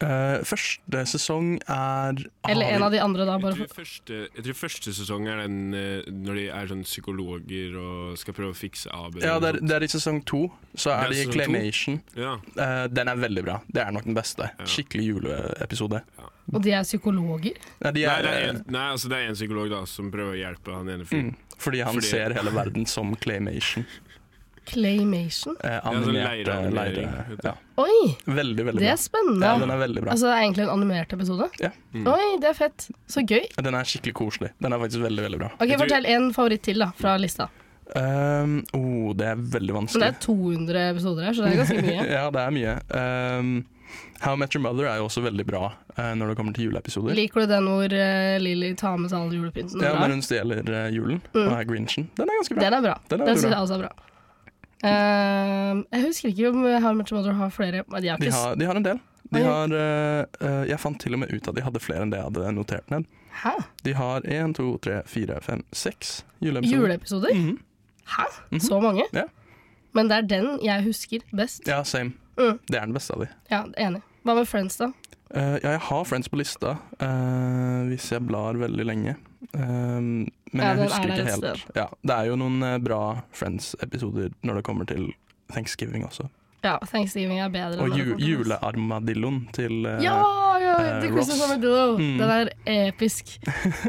Speaker 1: Eh, første sesong er
Speaker 2: Eller en av de andre, da.
Speaker 6: Jeg
Speaker 2: bare
Speaker 6: tror, første, jeg tror første sesong er den eh, når de er sånn psykologer og skal prøve å fikse AB.
Speaker 1: Ja, det er, det er i sesong to. Så er
Speaker 6: Det er
Speaker 1: det i
Speaker 6: sesong to?
Speaker 1: Claymation.
Speaker 6: ja.
Speaker 1: Eh, den er veldig bra. Det er nok den beste. Skikkelig juleepisode.
Speaker 2: for- Og de er psykologer?
Speaker 1: Nei, de
Speaker 6: Nei,
Speaker 1: er,
Speaker 6: det er en, nei, altså det er en psykolog da som prøver å hjelpe han ene
Speaker 1: mm,
Speaker 6: fyren.
Speaker 1: fordi han
Speaker 6: Fordi-
Speaker 1: ser hele verden som Claymation.
Speaker 2: Claymation?
Speaker 1: Eh,
Speaker 6: sånn
Speaker 1: animerte
Speaker 6: leireanimering,
Speaker 1: leire.
Speaker 6: vet du.
Speaker 1: Ja.
Speaker 2: Oi!
Speaker 1: Veldig, veldig
Speaker 2: Det
Speaker 1: bra.
Speaker 2: er spennende.
Speaker 1: Ja, den er veldig bra.
Speaker 2: Altså, det er egentlig en animert episode?
Speaker 1: Ja. Mm.
Speaker 2: Oi, det er fett. Så gøy.
Speaker 1: Den er skikkelig koselig. Den er faktisk veldig, veldig bra.
Speaker 2: Ok,
Speaker 6: Jeg tror-
Speaker 2: Fortell en favoritt til da, fra lista.
Speaker 1: Um, oh, det er veldig
Speaker 2: Men det
Speaker 1: vanskelig.
Speaker 2: er 200 episoder her, så det er ganske mye.
Speaker 1: ja, det er mye. Um, How I Met Your Mother er jo også veldig bra eh, når det kommer til juleepisoder.
Speaker 2: Liker du den hvor eh, Lily tar med seg all julepynten?
Speaker 1: Ja, når
Speaker 2: og drar?
Speaker 1: hun stjeler eh, julen
Speaker 2: Mm.
Speaker 1: og er grinchen. Den er ganske bra.
Speaker 2: Den er bra.
Speaker 1: Den
Speaker 2: Den,
Speaker 1: er veldig
Speaker 2: synes
Speaker 1: bra.
Speaker 2: jeg også er bra. Ehm, Eh, jeg husker ikke om How Much Mother har flere, men de har
Speaker 1: De
Speaker 2: ikke s-
Speaker 1: har, de har en del. De
Speaker 2: Oi.
Speaker 1: har, eh, eh, jeg fant til og med ut at de hadde flere enn det jeg hadde notert ned.
Speaker 2: Hæ?
Speaker 1: De har én, to, tre, fire, fem, seks juleepisoder.
Speaker 2: Juleepisoder?
Speaker 1: Mhm.
Speaker 2: Hæ? Så mange?
Speaker 1: Ja.
Speaker 2: Men det er den jeg husker best.
Speaker 1: Ja, same.
Speaker 2: Mm.
Speaker 1: Det er den beste av de.
Speaker 2: Ja, enig. Hva med Friends, da?
Speaker 1: Eh, ja, jeg har Friends på lista, eh, hvis jeg blar veldig lenge. Um, men
Speaker 2: Ja,
Speaker 1: jeg
Speaker 2: den
Speaker 1: husker
Speaker 2: er der
Speaker 1: ikke
Speaker 2: et
Speaker 1: helt. Ja, det er jo noen eh, bra Friends-episoder når det kommer til Thanksgiving også.
Speaker 2: Ja, Thanksgiving er bedre.
Speaker 1: Og
Speaker 2: enn
Speaker 1: ju
Speaker 2: Rocket Beans.
Speaker 1: julearmadilloen til eh,
Speaker 2: Ja, ja,
Speaker 1: eh,
Speaker 2: The Christmas
Speaker 1: Ross.
Speaker 2: Summer Duo.
Speaker 1: Mm.
Speaker 2: Den er episk.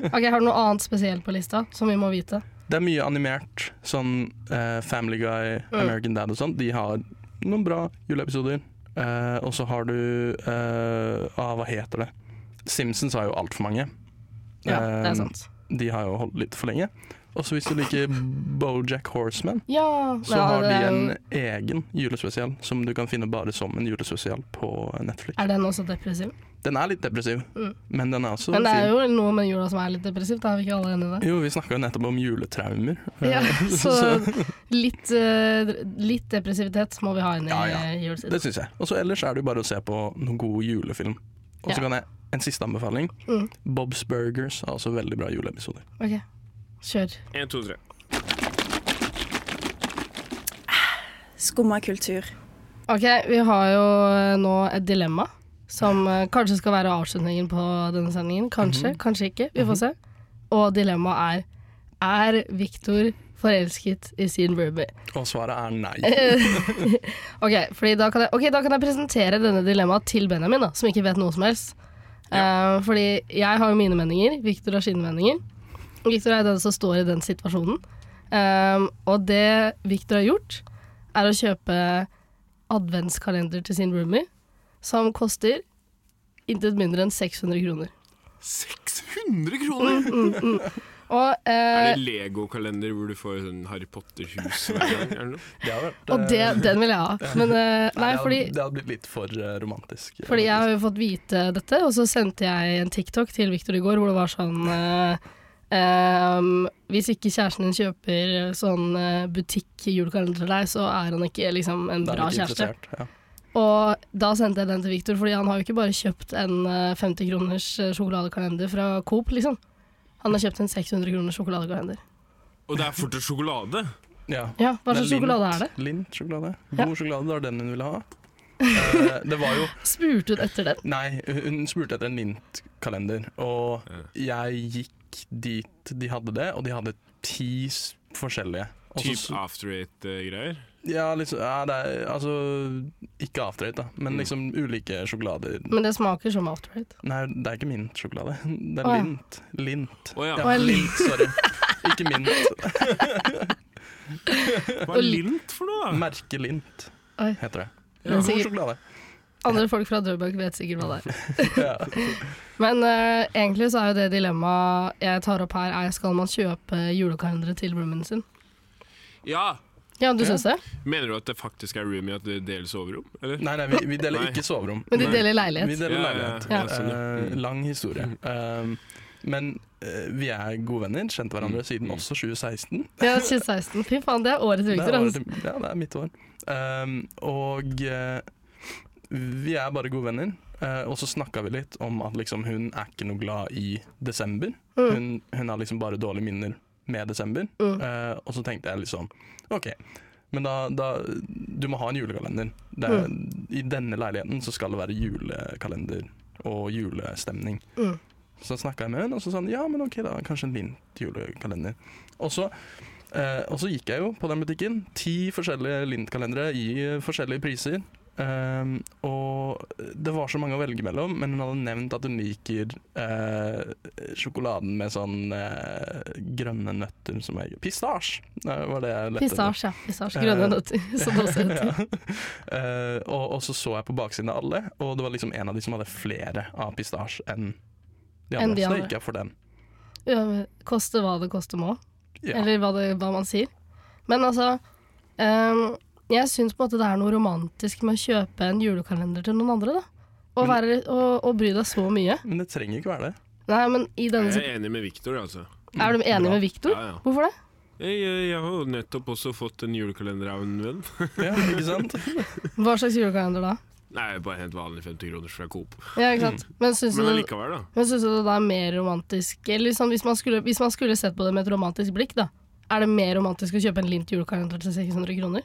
Speaker 2: Ok, Har du noe annet spesielt på lista som vi må vite?
Speaker 1: Det er mye animert, sånn eh, Family Guy,
Speaker 2: Mm.
Speaker 1: American Dad og sånn. De har noen bra juleepisoder. Eh, og så har du eh, ah, Hva heter det? Simpsons har jo altfor mange.
Speaker 2: Ja, det
Speaker 1: Eh,
Speaker 2: er sant.
Speaker 1: De har jo holdt litt for lenge. Og så hvis du liker Bojack Horseman,
Speaker 2: Ja,
Speaker 1: så
Speaker 2: ja,
Speaker 1: har
Speaker 2: det
Speaker 1: de
Speaker 2: er
Speaker 1: en
Speaker 2: jo-
Speaker 1: egen julespesial som du kan finne bare som en julespesial på Netflix.
Speaker 2: Er den også depressiv?
Speaker 1: Den er litt depressiv,
Speaker 2: Mm.
Speaker 1: men den er også
Speaker 2: Men det er
Speaker 1: fin.
Speaker 2: jo noe med jula som er litt depressivt, da er vi ikke alle enige i det?
Speaker 1: Jo, vi snakka jo nettopp om juletraumer.
Speaker 2: Ja,
Speaker 1: Eh,
Speaker 2: så litt, eh, litt depressivitet må vi ha inn i
Speaker 1: Ja, ja.
Speaker 2: eh,
Speaker 1: det
Speaker 2: juletiden.
Speaker 1: syns jeg. Og så ellers er det jo bare å se på noen god julefilm. Og så
Speaker 2: Ja.
Speaker 1: kan jeg en siste anbefaling.
Speaker 2: Mm.
Speaker 1: Bob's Burgers har også veldig bra juleepisoder.
Speaker 2: Ok, kjør.
Speaker 6: En, to, tre.
Speaker 8: Skumma kultur.
Speaker 2: Ok, vi har jo eh, nå et dilemma som eh, kanskje skal være avslutningen på denne sendingen. Kanskje, kanskje ikke. Vi får se. Og dilemmaet er Er Victor forelsket i Sean Burby?
Speaker 1: Og svaret er nei.
Speaker 2: Ok, fordi da kan jeg, ok, da kan jeg presentere denne dilemmaet til Benjamin, da, som ikke vet noe som helst. Eh, fordi jeg har jo mine meninger, Victor har sine meninger. Victor er den som står i den situasjonen. Um, og det Victor har gjort, er å kjøpe adventskalender til sin roomie, som koster intet mindre enn 600 kroner. Mm,
Speaker 6: 600 kroner!
Speaker 2: Og,
Speaker 6: Er
Speaker 2: eh,
Speaker 6: det Lego-kalender hvor du får sånn Harry Potter-hus hver gang? eller noe?
Speaker 1: Det hadde vært,
Speaker 2: og det, den vil jeg ha. Men eh,
Speaker 1: Nei,
Speaker 2: nei,
Speaker 1: det,
Speaker 2: fordi
Speaker 1: hadde, det hadde blitt litt for eh, romantisk.
Speaker 2: Fordi jeg har jo fått vite dette, og så sendte jeg en TikTok til Victor i går hvor det var sånn eh, ehm, Hvis ikke kjæresten din kjøper sånn eh, butikk-julekalender til deg, så er han ikke liksom en
Speaker 1: Da er
Speaker 2: bra
Speaker 1: jeg ikke
Speaker 2: kjæreste.
Speaker 1: interessert, Ja.
Speaker 2: Og da sendte jeg den til Victor, fordi han har jo ikke bare kjøpt en eh, 50 kroners eh, sjokoladekalender fra Coop, liksom. Han har kjøpt en 600 kroners sjokoladekalender.
Speaker 6: Og det er fortsatt sjokolade!
Speaker 1: Ja.
Speaker 2: Ja, hva
Speaker 1: Det
Speaker 2: slags sjokolade er det?
Speaker 1: Lint sjokolade.
Speaker 2: Ja.
Speaker 1: God sjokolade, det var den hun ville ha. Eh, det var jo
Speaker 2: Spurte du etter den?
Speaker 1: Nei, hun spurte etter en lintkalender, og jeg gikk dit de hadde det, og de hadde ti s- forskjellige. Og så
Speaker 6: Typ
Speaker 1: s-
Speaker 6: After Eight-greier.
Speaker 1: ja, liksom, ja, det er, altså Ikke after eight, da, men
Speaker 6: Mm.
Speaker 1: liksom ulike sjokolader.
Speaker 2: Men det smaker som Outright.
Speaker 1: Nei, det er ikke mintsjokolade. Det er
Speaker 2: Å, ja.
Speaker 1: lint. Lint.
Speaker 6: Å ja.
Speaker 2: Og jeg
Speaker 1: Lint, sorry. Ikke mint.
Speaker 6: Hva er lint for noe, da?
Speaker 1: Merket Lint
Speaker 2: Oi.
Speaker 1: heter det.
Speaker 2: Men
Speaker 1: God
Speaker 2: sikkert-
Speaker 1: sjokolade.
Speaker 2: Andre folk fra Drøbak vet sikkert hva det er.
Speaker 1: Ja.
Speaker 2: Men eh, egentlig så er jo det dilemmaet jeg tar opp her, er skal man kjøpe julekalendere til roomien sin?
Speaker 6: Ja!
Speaker 2: Ja, du
Speaker 1: Ja.
Speaker 2: syns det?
Speaker 6: Mener du at det faktisk er roomie at det deles overrom? Eller?
Speaker 1: Nei, nei, vi, vi deler
Speaker 6: Nei.
Speaker 1: ikke soverom.
Speaker 2: Men de
Speaker 6: Nei.
Speaker 2: deler
Speaker 1: Vi
Speaker 2: leilighet.
Speaker 1: deler
Speaker 6: Ja, ja,
Speaker 1: leilighet.
Speaker 6: ja, Mm.
Speaker 2: ja,
Speaker 6: sånn, ja.
Speaker 1: Eh, lang historie. Um, men eh, vi er gode venner, kjent
Speaker 6: Mm.
Speaker 1: hverandre siden også 2016.
Speaker 2: Ja, 2016. Fy faen, det er årets
Speaker 1: Det
Speaker 2: Victor.
Speaker 1: er,
Speaker 2: Altså.
Speaker 1: året- ja, det er mitt år. Um, og eh, vi er bare gode venner. Eh, og så snakka vi litt om at liksom, hun er ikke noe glad i desember. Hun, hun har liksom bare dårlige minner med desember. Eh, og så tenkte jeg liksom OK, men da, da Du må ha en julekalender. Det er, I denne leiligheten så skal det være julekalender og julestemning. Så snakka jeg med hun, og så sa hun ja, men OK, da kanskje en lint julekalender. Og så Eh, og så gikk jeg jo på den butikken. Ti forskjellige Lint-kalendere i eh, forskjellige priser. Ehm, og det var så mange å velge mellom, men hun hadde nevnt at hun liker eh, sjokoladen med sånn eh, grønne nøtter som jeg Pistasje! eh, var det jeg lette etter.
Speaker 2: Pistasje, ja. Pistasje.
Speaker 1: Eh,
Speaker 2: Grønne nøtter, som det også heter.
Speaker 1: Eh, og, og så så jeg på baksiden av alle, og det var liksom en av de som hadde flere av pistasje enn de andre.
Speaker 2: Enn
Speaker 1: Så
Speaker 2: de
Speaker 1: da
Speaker 2: andre.
Speaker 1: gikk jeg for den.
Speaker 2: Ja, men koste hva det koste må.
Speaker 1: Ja.
Speaker 2: Eller hva, det, hva man sier. Men altså ehm, Jeg syns på en måte det er noe romantisk med å kjøpe en julekalender til noen andre, da. Og, være, og, og bry deg så mye.
Speaker 1: Men det trenger ikke være det.
Speaker 2: Nei, men i denne
Speaker 6: Jeg er enig med Victor, altså.
Speaker 2: Er du enig med Victor?
Speaker 6: Ja, ja.
Speaker 2: Hvorfor det?
Speaker 6: Jeg, jeg, jeg har jo nettopp også fått en julekalender av en venn.
Speaker 1: Ja, ikke sant?
Speaker 2: Hva slags julekalender da?
Speaker 6: Nei, bare helt vanlig 50 kroner fra Coop.
Speaker 2: Ja, ikke
Speaker 1: Mm.
Speaker 2: sant? Men syns du,
Speaker 6: Men
Speaker 2: det-
Speaker 6: allikevel, da.
Speaker 2: men syns du det da er mer romantisk Eller liksom, hvis, man skulle, hvis man skulle sett på det med et romantisk blikk, da. Er det mer romantisk å kjøpe en lint julekalender til 600 kroner?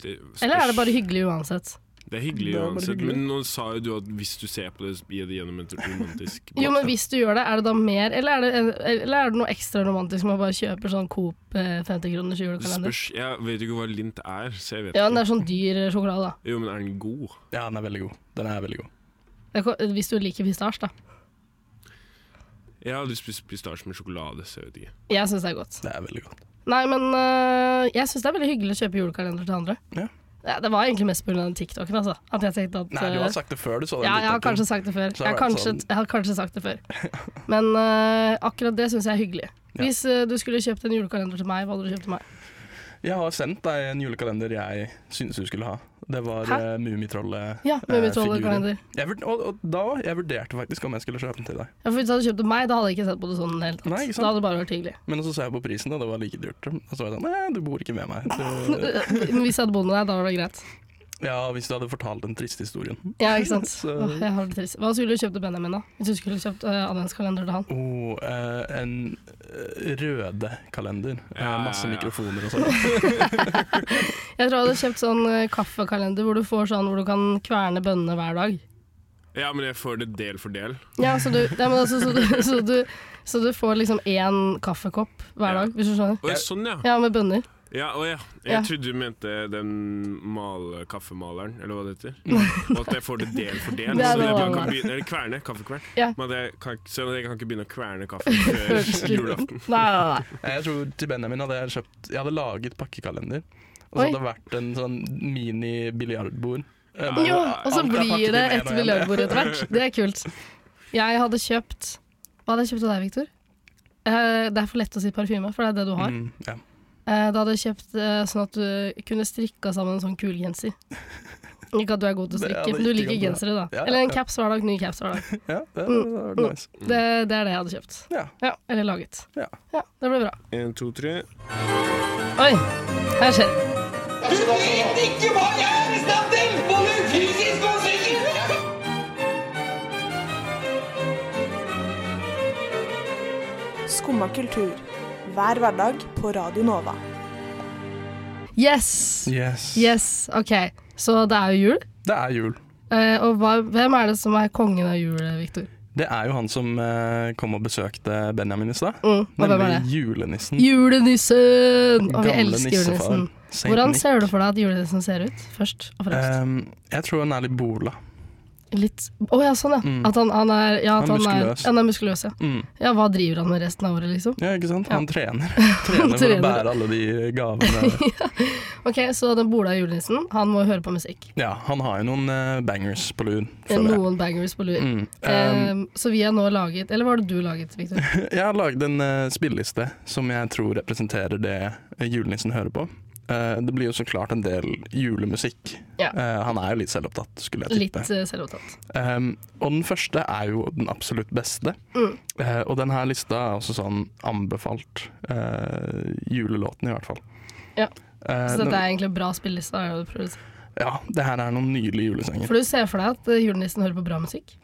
Speaker 6: Det,
Speaker 2: Eller er det bare hyggelig uansett?
Speaker 6: Det er hyggelig
Speaker 1: Det er bare
Speaker 6: uansett,
Speaker 1: hyggelig.
Speaker 6: men nå sa jo du at hvis du ser på det, så blir det gjennom en romantisk
Speaker 2: Jo, men hvis du gjør det, er det da mer Eller er det, eller er det noe ekstra romantisk med å bare kjøpe sånn Coop eh, 50 kroners
Speaker 6: Det
Speaker 2: julekalender?
Speaker 6: spørs, Jeg vet jo ikke hva lint er, så jeg vet
Speaker 2: Ja, men
Speaker 6: ikke.
Speaker 2: det er sånn dyr sjokolade, da.
Speaker 6: Jo, men er den god?
Speaker 1: Ja, den er veldig god. Den er veldig god.
Speaker 2: Det er ko- Hvis du liker pistasje, da.
Speaker 6: Jeg har aldri spist pistasje med sjokolade, så jeg vet ikke.
Speaker 2: Jeg syns det er godt.
Speaker 1: Det er veldig godt.
Speaker 2: Nei, men øh, jeg syns det er veldig hyggelig å kjøpe julekalender til andre.
Speaker 1: Ja.
Speaker 2: Ja, det var egentlig mest pga. den TikToken, altså. At jeg tenkte at
Speaker 1: Nei, du
Speaker 2: øh,
Speaker 1: har sagt det før du så den.
Speaker 2: ja, jeg har
Speaker 1: TikToken.
Speaker 2: kanskje sagt det før.
Speaker 1: Så
Speaker 2: Jeg
Speaker 1: har
Speaker 2: har
Speaker 1: det vært
Speaker 2: kanskje,
Speaker 1: sånn-
Speaker 2: jeg har kanskje sagt det før. Men øh, akkurat det syns jeg er hyggelig.
Speaker 1: Ja.
Speaker 2: Hvis øh, du skulle kjøpt en julekalender til meg, hva hadde du kjøpt til meg?
Speaker 1: Jeg har sendt deg en julekalender jeg syntes du skulle ha. Det var
Speaker 2: Hæ?
Speaker 1: uh, Mummitrollet.
Speaker 2: Ja,
Speaker 1: eh, figurer.
Speaker 2: Mummitrollet-kalender.
Speaker 1: Jeg vurd- og, og da jeg vurderte faktisk om jeg skulle kjøpe den til deg.
Speaker 2: Ja, for hvis du hadde kjøpt til meg, da hadde jeg ikke sett på det sånn i det hele tatt.
Speaker 1: Nei, ikke sant?
Speaker 2: Da hadde det bare vært hyggelig.
Speaker 1: Men så så jeg på prisen, og det var like dyrt. Og så var jeg sånn Nei, du bor ikke med meg. Du,
Speaker 2: Eh, Men hvis jeg hadde bodd med deg, da var det greit.
Speaker 1: ja, hvis du hadde fortalt den triste historien.
Speaker 2: Ja, ikke sant.
Speaker 1: Så-
Speaker 2: Åh, jeg har det trist. Hva skulle du kjøpt til Benjamin, da? Hvis du skulle kjøpt øh, adventskalender til han?
Speaker 1: Oh, eh, en eh, røde kalender. Eh,
Speaker 6: Ja, ja,
Speaker 1: masse
Speaker 6: ja.
Speaker 1: mikrofoner og sånn.
Speaker 2: Jeg tror jeg hadde kjøpt sånn eh, kaffekalender hvor du får sånn hvor du kan kverne bønnene hver dag.
Speaker 6: Ja, men jeg får det del for del.
Speaker 2: Ja, så du, ja, men altså, så du, så du, så du får liksom én kaffekopp hver
Speaker 6: Ja.
Speaker 2: dag, hvis du skjønner.
Speaker 6: Å ja, sånn ja.
Speaker 2: Ja, med bønner.
Speaker 6: Ja, å, ja. Jeg
Speaker 2: Ja.
Speaker 6: trodde du mente den male, kaffemaleren, eller hva det heter. Og at jeg får det del for del.
Speaker 2: Det er
Speaker 6: så
Speaker 2: det
Speaker 6: jeg bare
Speaker 2: vanlige.
Speaker 6: kan begynne, eller kverne, kaffekvern.
Speaker 2: Ja.
Speaker 6: Men at jeg kan, ikke- så jeg kan ikke begynne å kverne kaffe før julaften.
Speaker 2: Nei, nei, nei.
Speaker 1: Nei, Eh, Jeg tror til Benjamin hadde jeg kjøpt Jeg hadde laget pakkekalender. Og så
Speaker 2: Oi.
Speaker 1: hadde det vært en sånn mini-biljardbord. Eh,
Speaker 6: Ja.
Speaker 1: bare
Speaker 2: Jo, og så
Speaker 1: alt er pakket
Speaker 2: blir det
Speaker 1: inn en
Speaker 2: et
Speaker 1: og en.
Speaker 2: biljardbord etter hvert. Det er kult. Jeg hadde kjøpt Hva hadde jeg kjøpt til deg, Victor? Eh, det er for lett å si parfyme, for det er det du har.
Speaker 1: Mm, ja.
Speaker 2: Eh, da hadde jeg kjøpt eh, sånn at du kunne strikka sammen en sånn kul genser. Ikke at du er god til å
Speaker 1: Det hadde
Speaker 2: strikke, men du
Speaker 1: ikke
Speaker 2: liker
Speaker 1: gått bra.
Speaker 2: gensere, da.
Speaker 1: Ja, ja,
Speaker 2: Eller en
Speaker 1: ja.
Speaker 2: caps hver dag, ny caps hver dag.
Speaker 1: ja, det det hadde
Speaker 2: Mm.
Speaker 1: vært nice. Mm.
Speaker 2: Det, det er det jeg hadde kjøpt.
Speaker 1: Ja.
Speaker 2: Eller laget.
Speaker 1: Ja.
Speaker 2: Det ble bra.
Speaker 6: En, to, tre.
Speaker 2: Oi, her skjer det.
Speaker 7: Skumma kultur. Hver hverdag på Radio Nova.
Speaker 2: Yes!
Speaker 1: Yes.
Speaker 2: Yes, ok. Så det er jo jul.
Speaker 1: Det er jul.
Speaker 2: Eh, og hva, hvem er det som er kongen av jul, Victor?
Speaker 1: Det er jo han som eh, kom og besøkte Benjamin i stad.
Speaker 2: Mm, og hvem er det?
Speaker 1: Nemlig julenissen.
Speaker 2: Julenissen! Og vi
Speaker 1: Gamle
Speaker 2: elsker
Speaker 1: nissefar.
Speaker 2: julenissen.
Speaker 1: Saint
Speaker 2: Hvordan
Speaker 1: Nick.
Speaker 2: ser du for deg at julenissen ser ut, først og fremst?
Speaker 1: Ehm, jeg tror han er litt bola.
Speaker 2: Litt Å ja, sånn ja.
Speaker 1: Mm.
Speaker 2: At han, han er ja, at
Speaker 1: Han er
Speaker 2: han er,
Speaker 1: muskuløs.
Speaker 2: han er muskuløs. Ja.
Speaker 1: Mm.
Speaker 2: ja, hva driver han med resten av året, liksom?
Speaker 1: Ja, ikke sant?
Speaker 2: Ja.
Speaker 1: Han trener. trener for å
Speaker 2: Trener.
Speaker 1: bære alle de gavene.
Speaker 2: Ok, Så den bola julenissen, han må høre på musikk.
Speaker 1: Ja, han har jo noen eh, bangers på lur. føler jeg.
Speaker 2: Noen bangers på lur.
Speaker 1: Mm. Ehm,
Speaker 2: Eh, så vi har nå laget Eller hva har det du laget, Victor?
Speaker 1: jeg har laget en eh, spilleliste som jeg tror representerer det julenissen hører på. Eh, det blir jo så klart en del julemusikk.
Speaker 2: Ja.
Speaker 1: Eh, han er jo litt selvopptatt, skulle jeg
Speaker 2: Litt
Speaker 1: tippe.
Speaker 2: eh, selvopptatt.
Speaker 1: Ehm, og den første er jo den absolutt beste.
Speaker 2: Mm.
Speaker 1: Eh, og den her lista er også sånn anbefalt eh, julelåten, i hvert fall.
Speaker 2: Ja.
Speaker 1: Eh,
Speaker 2: Så
Speaker 1: den-
Speaker 2: dette er egentlig en bra spilleliste. er det du prøver å si.
Speaker 1: ja, det her er noen nydelige julesanger.
Speaker 2: For du ser for deg at eh, julenissen hører på bra musikk?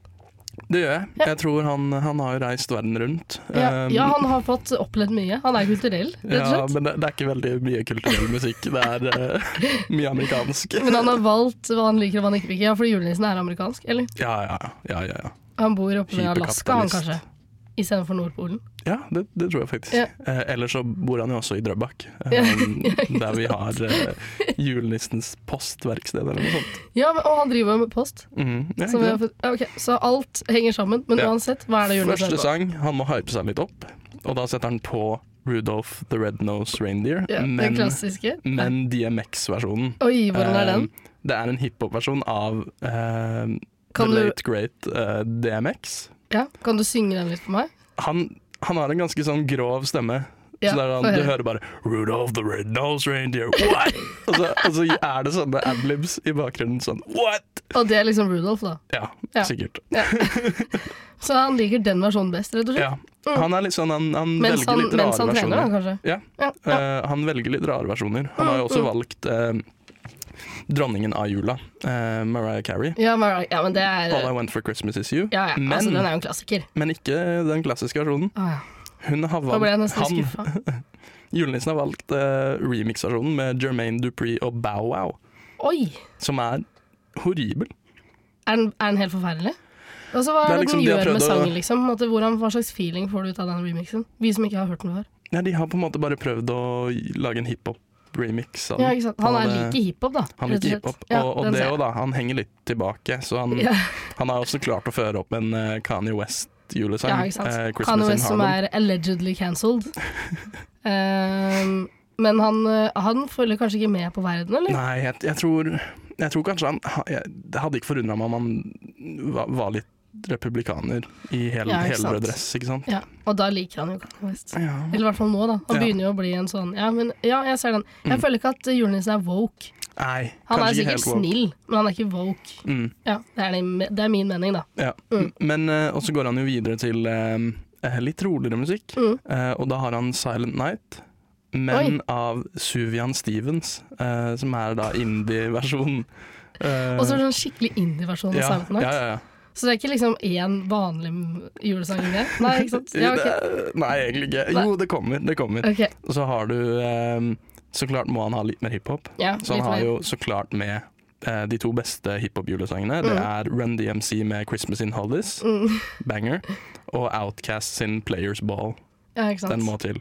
Speaker 1: Det gjør jeg.
Speaker 2: Ja.
Speaker 1: Jeg tror han, han har jo reist verden rundt.
Speaker 2: Ja,
Speaker 1: Um,
Speaker 2: ja, han har fått opplevd mye. Han er kulturell, rett og
Speaker 1: ja,
Speaker 2: slett.
Speaker 1: men det, det er ikke veldig mye kulturell musikk. Det er eh, mye amerikansk.
Speaker 2: Men han har valgt hva han liker og hva han ikke liker. Ja, fordi julenissen er amerikansk, eller?
Speaker 1: Ja, ja, ja. ja, ja.
Speaker 2: Han bor oppe ved Alaska, han
Speaker 1: Hyperkapitalist.
Speaker 2: kanskje. Istedenfor Nordpolen.
Speaker 1: ja det, det tror jeg faktisk.
Speaker 2: Ja.
Speaker 1: Eh, Eller så bor han jo også i Drøbak, eh,
Speaker 2: Ja,
Speaker 1: der vi har eh, julenissens postverksted eller noe sånt.
Speaker 2: Ja, men, Og han driver jo med post.
Speaker 1: Mhm, ja,
Speaker 2: Så, vi
Speaker 1: ikke
Speaker 2: har
Speaker 1: sant?
Speaker 2: fått, ja, ok, så alt henger sammen. Men
Speaker 1: Ja.
Speaker 2: uansett, hva er det julenissen
Speaker 1: Første
Speaker 2: hører på?
Speaker 1: sang, han må hype seg litt opp, og da setter han på Rudolph the Red-Nosed Reindeer,
Speaker 2: Ja, den
Speaker 1: men,
Speaker 2: klassiske.
Speaker 1: men DMX-versjonen.
Speaker 2: Oi, hvordan er den?
Speaker 1: Eh, Det er en hiphop-versjon av eh, The
Speaker 2: Kan du-
Speaker 1: Late Great eh, DMX.
Speaker 2: Ja, Kan du synge den litt for meg?
Speaker 1: Han, han har en ganske sånn grov stemme.
Speaker 2: Ja,
Speaker 1: så det er
Speaker 2: få
Speaker 1: sånn, Du
Speaker 2: høre.
Speaker 1: hører bare 'Rudolph the Red-Nosed Reindeer', what?! og, så, og så er det sånne adlibs i bakgrunnen. Sånn what?!
Speaker 2: Og det er liksom Rudolf, da.
Speaker 1: Ja,
Speaker 2: Ja.
Speaker 1: sikkert.
Speaker 2: Så han liker den versjonen best, rett og slett.
Speaker 1: Ja. Han er litt sånn Han, han
Speaker 2: Mm. Mens
Speaker 1: velger
Speaker 2: han,
Speaker 1: litt
Speaker 2: mens
Speaker 1: rare
Speaker 2: han trener, da,
Speaker 1: versjoner.
Speaker 2: kanskje.
Speaker 1: Ja,
Speaker 2: Ja, Mm, ja.
Speaker 1: eh, han velger litt rare versjoner. Han har jo også valgt eh, dronningen av jula, eh, Mariah Carey.
Speaker 2: Ja, Mariah, ja, men det er
Speaker 1: All I Want for Christmas Is You.
Speaker 2: ja, ja,
Speaker 1: men,
Speaker 2: altså, Den er jo en klassiker.
Speaker 1: men ikke den klassiske versjonen.
Speaker 2: Å, ja.
Speaker 1: Hun har
Speaker 2: Da ble jeg
Speaker 1: valgt
Speaker 2: nesten
Speaker 1: han,
Speaker 2: skuffa.
Speaker 1: Julenissen har valgt eh, remix-versjonen med Jermaine Dupree og Bow Wow,
Speaker 2: Oi!
Speaker 1: som er horribel.
Speaker 2: Er den, er den helt forferdelig? Og så Hva
Speaker 1: Det er
Speaker 2: er det
Speaker 1: liksom
Speaker 2: den
Speaker 1: de har
Speaker 2: gjør
Speaker 1: prøvd
Speaker 2: med
Speaker 1: å-
Speaker 2: sangen? liksom? At, hvordan, hva slags feeling får du ut av den remixen? Vi som ikke har hørt den før.
Speaker 1: Ja, de har på en måte bare prøvd å lage en hiphop-remix. av
Speaker 2: Ja,
Speaker 1: den.
Speaker 2: ikke sant? Han er
Speaker 1: det-
Speaker 2: like hiphop, da.
Speaker 1: Han
Speaker 2: rett og
Speaker 1: liker
Speaker 2: slett.
Speaker 1: hiphop,
Speaker 2: Ja,
Speaker 1: og, og
Speaker 2: den
Speaker 1: det
Speaker 2: ser jeg.
Speaker 1: òg, da. Han henger litt tilbake, så han,
Speaker 2: Ja.
Speaker 1: han har også klart å føre opp en eh, Kanye West-julesang.
Speaker 2: Ja, ikke sant.
Speaker 1: eh, Christmas
Speaker 2: Kanye
Speaker 1: in
Speaker 2: West som
Speaker 1: Harlem.
Speaker 2: er allegedly cancelled. Ehm, men han, eh, han følger kanskje ikke med på verden, eller?
Speaker 1: Nei, jeg, jeg, tror, jeg tror kanskje han ha- jeg, Det hadde ikke forundra meg om han var, var litt republikaner i hel,
Speaker 2: Ja, ikke sant.
Speaker 1: helrød dress, ikke sant?
Speaker 2: Ja, og da liker han jo Kanye West.
Speaker 1: Ja.
Speaker 2: Eller i hvert fall nå, da. Han
Speaker 1: Ja.
Speaker 2: begynner jo å bli en sånn Ja, men, ja jeg ser den. Jeg
Speaker 1: Mm.
Speaker 2: føler ikke at eh, julenissen er woke.
Speaker 1: Nei,
Speaker 2: Han
Speaker 1: kanskje
Speaker 2: er
Speaker 1: ikke
Speaker 2: sikkert
Speaker 1: helt woke.
Speaker 2: snill, men han er ikke woke.
Speaker 1: Mm,
Speaker 2: Ja, det er, det, det er min mening, da.
Speaker 1: ja.
Speaker 2: Mm.
Speaker 1: Men eh, Og så går han jo videre til eh, eh, litt roligere musikk,
Speaker 2: Mm.
Speaker 1: eh, og da har han Silent Night. Men av Suvian Stevens, eh, som er da indie-versjonen. Eh,
Speaker 2: Og så er det sånn skikkelig indie-versjon av
Speaker 1: ja,
Speaker 2: Silent Night.
Speaker 1: Ja, ja, ja.
Speaker 2: Så det er ikke liksom én vanlig julesang inni der? Nei, ikke sant? Ja, ok.
Speaker 1: Det- Nei, egentlig ikke. Jo, det kommer. det kommer
Speaker 2: Ok,
Speaker 1: Og så har du eh, Så klart må han ha litt mer hiphop.
Speaker 2: ja,
Speaker 1: Så han
Speaker 2: litt
Speaker 1: Sånn har
Speaker 2: mer.
Speaker 1: jo så klart med eh, de to beste hiphop-julesangene. Det er Run DMC med 'Christmas in Hollies',
Speaker 2: Mm.
Speaker 1: banger, og Outcast sin 'Players Ball'.
Speaker 2: Ja, ikke sant.
Speaker 1: Den må til.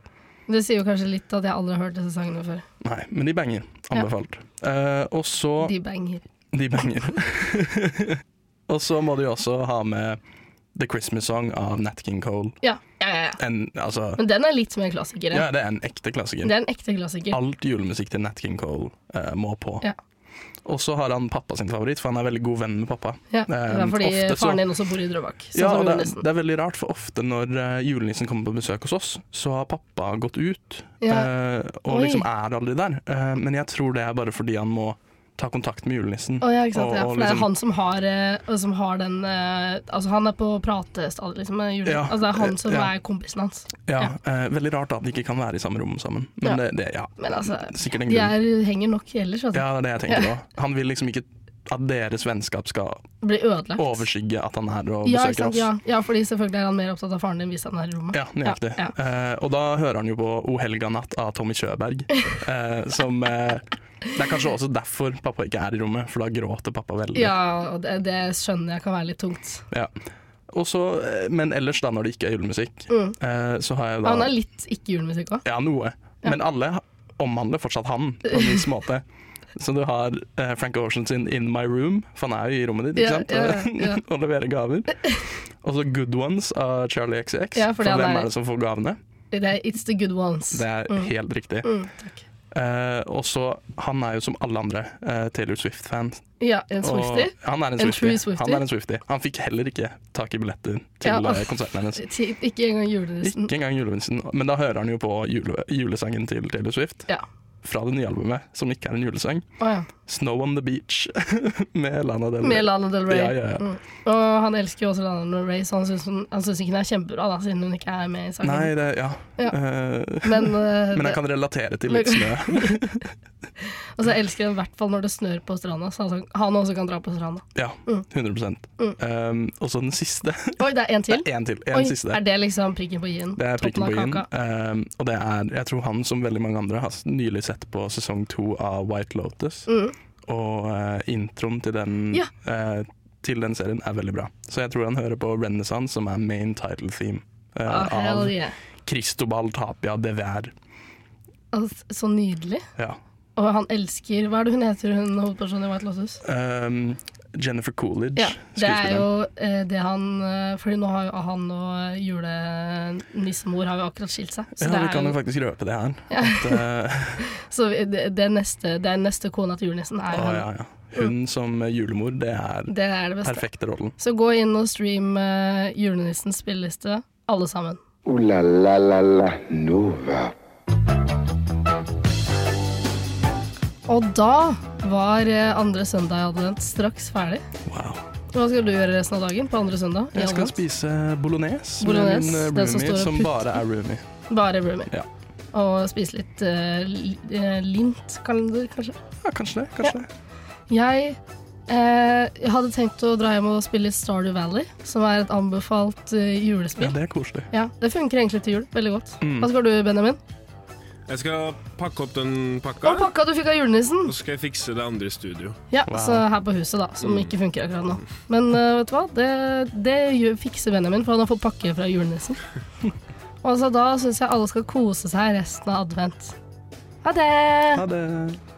Speaker 2: Det sier jo kanskje litt at jeg aldri har hørt disse sangene før.
Speaker 1: Nei, men de banger. Anbefalt. Eh, og så
Speaker 2: De banger.
Speaker 1: De banger. og så må de jo også ha med The Christmas Song av Nat King Cole.
Speaker 2: Ja, ja, ja. ja.
Speaker 1: En, altså,
Speaker 2: Men den er litt mer klassiker. Ja.
Speaker 1: ja, det er en ekte klassiker.
Speaker 2: Det er en ekte klassiker.
Speaker 1: Alt julemusikk til Nat King Cole eh, må på.
Speaker 2: Ja.
Speaker 1: Og så har han pappa sin favoritt, for han er veldig god venn med pappa.
Speaker 2: Ja, det er
Speaker 1: Um,
Speaker 2: fordi
Speaker 1: ofte så-
Speaker 2: faren din også bor i Drøbak. Sånn
Speaker 1: Ja,
Speaker 2: som
Speaker 1: og det,
Speaker 2: julenissen.
Speaker 1: det er veldig rart, for ofte når eh, julenissen kommer på besøk hos oss, så har pappa gått ut,
Speaker 2: Ja.
Speaker 1: eh, og
Speaker 2: Oi.
Speaker 1: liksom er aldri der. Eh, men jeg tror det er bare fordi han må ta kontakt med julenissen.
Speaker 2: Å, ja, ikke sant?
Speaker 1: Og-
Speaker 2: Ja,
Speaker 1: og
Speaker 2: for det er
Speaker 1: liksom-
Speaker 2: han som har, eh, og som har den eh, Altså, han er på pratestadiet, liksom. Med jule.
Speaker 1: Ja,
Speaker 2: altså, det er han som
Speaker 1: ja.
Speaker 2: er kompisen hans.
Speaker 1: Ja, eh, veldig rart da, at de ikke kan være i samme rom sammen. Men
Speaker 2: Ja.
Speaker 1: det, det ja.
Speaker 2: Men altså,
Speaker 1: sikkert en
Speaker 2: De
Speaker 1: grunn.
Speaker 2: er, henger nok ellers, altså.
Speaker 1: Ja, det er det jeg tenker òg. Han vil liksom ikke at deres vennskap skal
Speaker 2: Blir ødelagt.
Speaker 1: overskygge at han er her og
Speaker 2: ja, ikke
Speaker 1: besøker
Speaker 2: sant?
Speaker 1: oss.
Speaker 2: Ja. ja, fordi selvfølgelig er han mer opptatt av faren din hvis han er i rommet.
Speaker 1: Ja, nøyaktig.
Speaker 2: Ja,
Speaker 1: Eh, og da hører han jo på O helga natt av Tommy Kjøberg. eh, som eh, Det er kanskje også derfor pappa ikke er i rommet, for da gråter pappa veldig.
Speaker 2: Ja, og det, det skjønner jeg kan være litt tungt.
Speaker 1: Ja. Og så, eh, men ellers, da når det ikke er julemusikk,
Speaker 2: Mm.
Speaker 1: eh, så har jeg da
Speaker 2: Han er litt ikke julemusikk òg.
Speaker 1: Ja, noe. Men alle ha- omhandler fortsatt han på en viss måte. Så du har eh, Frank Ocean sin 'In My Room', for han er jo i rommet ditt, ikke
Speaker 2: Ja,
Speaker 1: sant?
Speaker 2: ja, ja.
Speaker 1: og leverer gaver. Og så 'Good Ones' av Charlie XX.
Speaker 2: Ja,
Speaker 1: for
Speaker 2: fordi han
Speaker 1: hvem
Speaker 2: er-
Speaker 1: er det som får gavene?
Speaker 2: Det er It's the good ones.
Speaker 1: Det er
Speaker 2: Mm.
Speaker 1: helt riktig.
Speaker 2: Mm, takk.
Speaker 1: Eh, og så, Han er jo som alle andre eh, Taylor Swift-fan.
Speaker 2: Ja, en
Speaker 1: Og-
Speaker 2: Swifty.
Speaker 1: Han er en,
Speaker 2: En
Speaker 1: Swiftie.
Speaker 2: true Swiftie.
Speaker 1: Han er en Swiftie. Han fikk heller ikke tak i billetter til
Speaker 2: Ja.
Speaker 1: eh, konserten hennes.
Speaker 2: Ikke engang julenissen.
Speaker 1: Ikke engang julenissen. Men da hører han jo på jule, julesangen til Taylor Swift
Speaker 2: Ja.
Speaker 1: fra det nye albumet, som ikke er en julesang.
Speaker 2: Å ja.
Speaker 1: 'Snow on the Beach' med Lana Del Rey.
Speaker 2: Med Lana Del Rey.
Speaker 1: Ja, ja, ja.
Speaker 2: Mm. Og han elsker jo også Lana Del Rey, så han syns hun- han syns ikke hun er kjempebra, da, siden hun ikke er med i sangen.
Speaker 1: Nei, det Ja.
Speaker 2: Ja.
Speaker 1: Eh,
Speaker 2: Men, eh,
Speaker 1: men jeg
Speaker 2: det-
Speaker 1: kan relatere til litt
Speaker 2: Men-
Speaker 1: snø.
Speaker 2: og så elsker han i hvert fall når det snør på stranda, så han, han også kan dra på stranda.
Speaker 1: Ja,
Speaker 2: Mm.
Speaker 1: 100 um, Og så den siste.
Speaker 2: Oi, det er en til?
Speaker 1: Det er én til. En
Speaker 2: Oi,
Speaker 1: siste.
Speaker 2: er det liksom prikken på i-en?
Speaker 1: Det er prikken
Speaker 2: Toppen
Speaker 1: på
Speaker 2: av
Speaker 1: i-en.
Speaker 2: kaka?
Speaker 1: ehm, og det er, jeg tror han som veldig mange andre har s- nylig sett på sesong to av White Lotus.
Speaker 2: Mm.
Speaker 1: Og eh, introen til den,
Speaker 2: Ja.
Speaker 1: eh, til den serien er veldig bra. Så jeg tror han hører på Renaissance, som er main title theme. eh,
Speaker 2: Ah,
Speaker 1: av
Speaker 2: hell yeah.
Speaker 1: Cristobal Tapia de Ver.
Speaker 2: Altså, så nydelig.
Speaker 1: Ja.
Speaker 2: Og han elsker Hva er det hun heter, hun hovedpersonen i White Lotus?
Speaker 1: Ehm, Jennifer Coolidge,
Speaker 2: Ja, det er jo
Speaker 1: skuespilleren.
Speaker 2: eh, det han eh, Fordi nå har jo han og eh, julenissemor har jo akkurat skilt seg. Så,
Speaker 1: Ja, vi
Speaker 2: det,
Speaker 1: kan jo
Speaker 2: er jo,
Speaker 1: faktisk røpe det her. At, eh,
Speaker 2: så vi- det, det, er neste, det er neste kona til julenissen er
Speaker 1: å,
Speaker 2: han.
Speaker 1: ja, ja. Hun som julemor, det er
Speaker 2: Det er det beste.
Speaker 1: perfekte rollen.
Speaker 2: Så gå inn og stream eh, julenissens spilleliste, alle sammen.
Speaker 4: Ooh la la la la Nova.
Speaker 2: Og da var eh, andre søndag i advent straks ferdig.
Speaker 1: Wow.
Speaker 2: Hva skal du gjøre resten av dagen på andre søndag? i
Speaker 1: Jeg skal
Speaker 2: advent?
Speaker 1: spise bolognese,
Speaker 2: Bolognese,
Speaker 1: med min eh,
Speaker 2: den som
Speaker 1: roomie
Speaker 2: står og
Speaker 1: som,
Speaker 2: putter-
Speaker 1: bare er roomie.
Speaker 2: Bare roomie.
Speaker 1: Ja.
Speaker 2: Og spise litt eh, li- eh, lint, kan du kanskje.
Speaker 1: Ja, kanskje det. kanskje det.
Speaker 2: Jeg, eh, jeg hadde tenkt å dra hjem og spille litt Stardew Valley, som er et anbefalt eh,
Speaker 1: Ja, det
Speaker 2: julespill.
Speaker 1: Mm. er koselig.
Speaker 2: Ja, det funker egentlig til jul. Veldig godt. Hva skal du, Benjamin?
Speaker 6: Jeg skal pakke opp den pakka,
Speaker 2: Og pakka du fikk av julenissen!
Speaker 6: og så skal jeg fikse det andre i studio.
Speaker 2: Ja,
Speaker 1: Wow.
Speaker 2: så her på huset, da, som ikke funker akkurat nå. Men eh, vet du hva, det, det gjør- fikser Benjamin, for han har fått pakke fra julenissen. Og så da syns jeg alle skal kose seg resten av advent. Ha det!
Speaker 1: Ha det.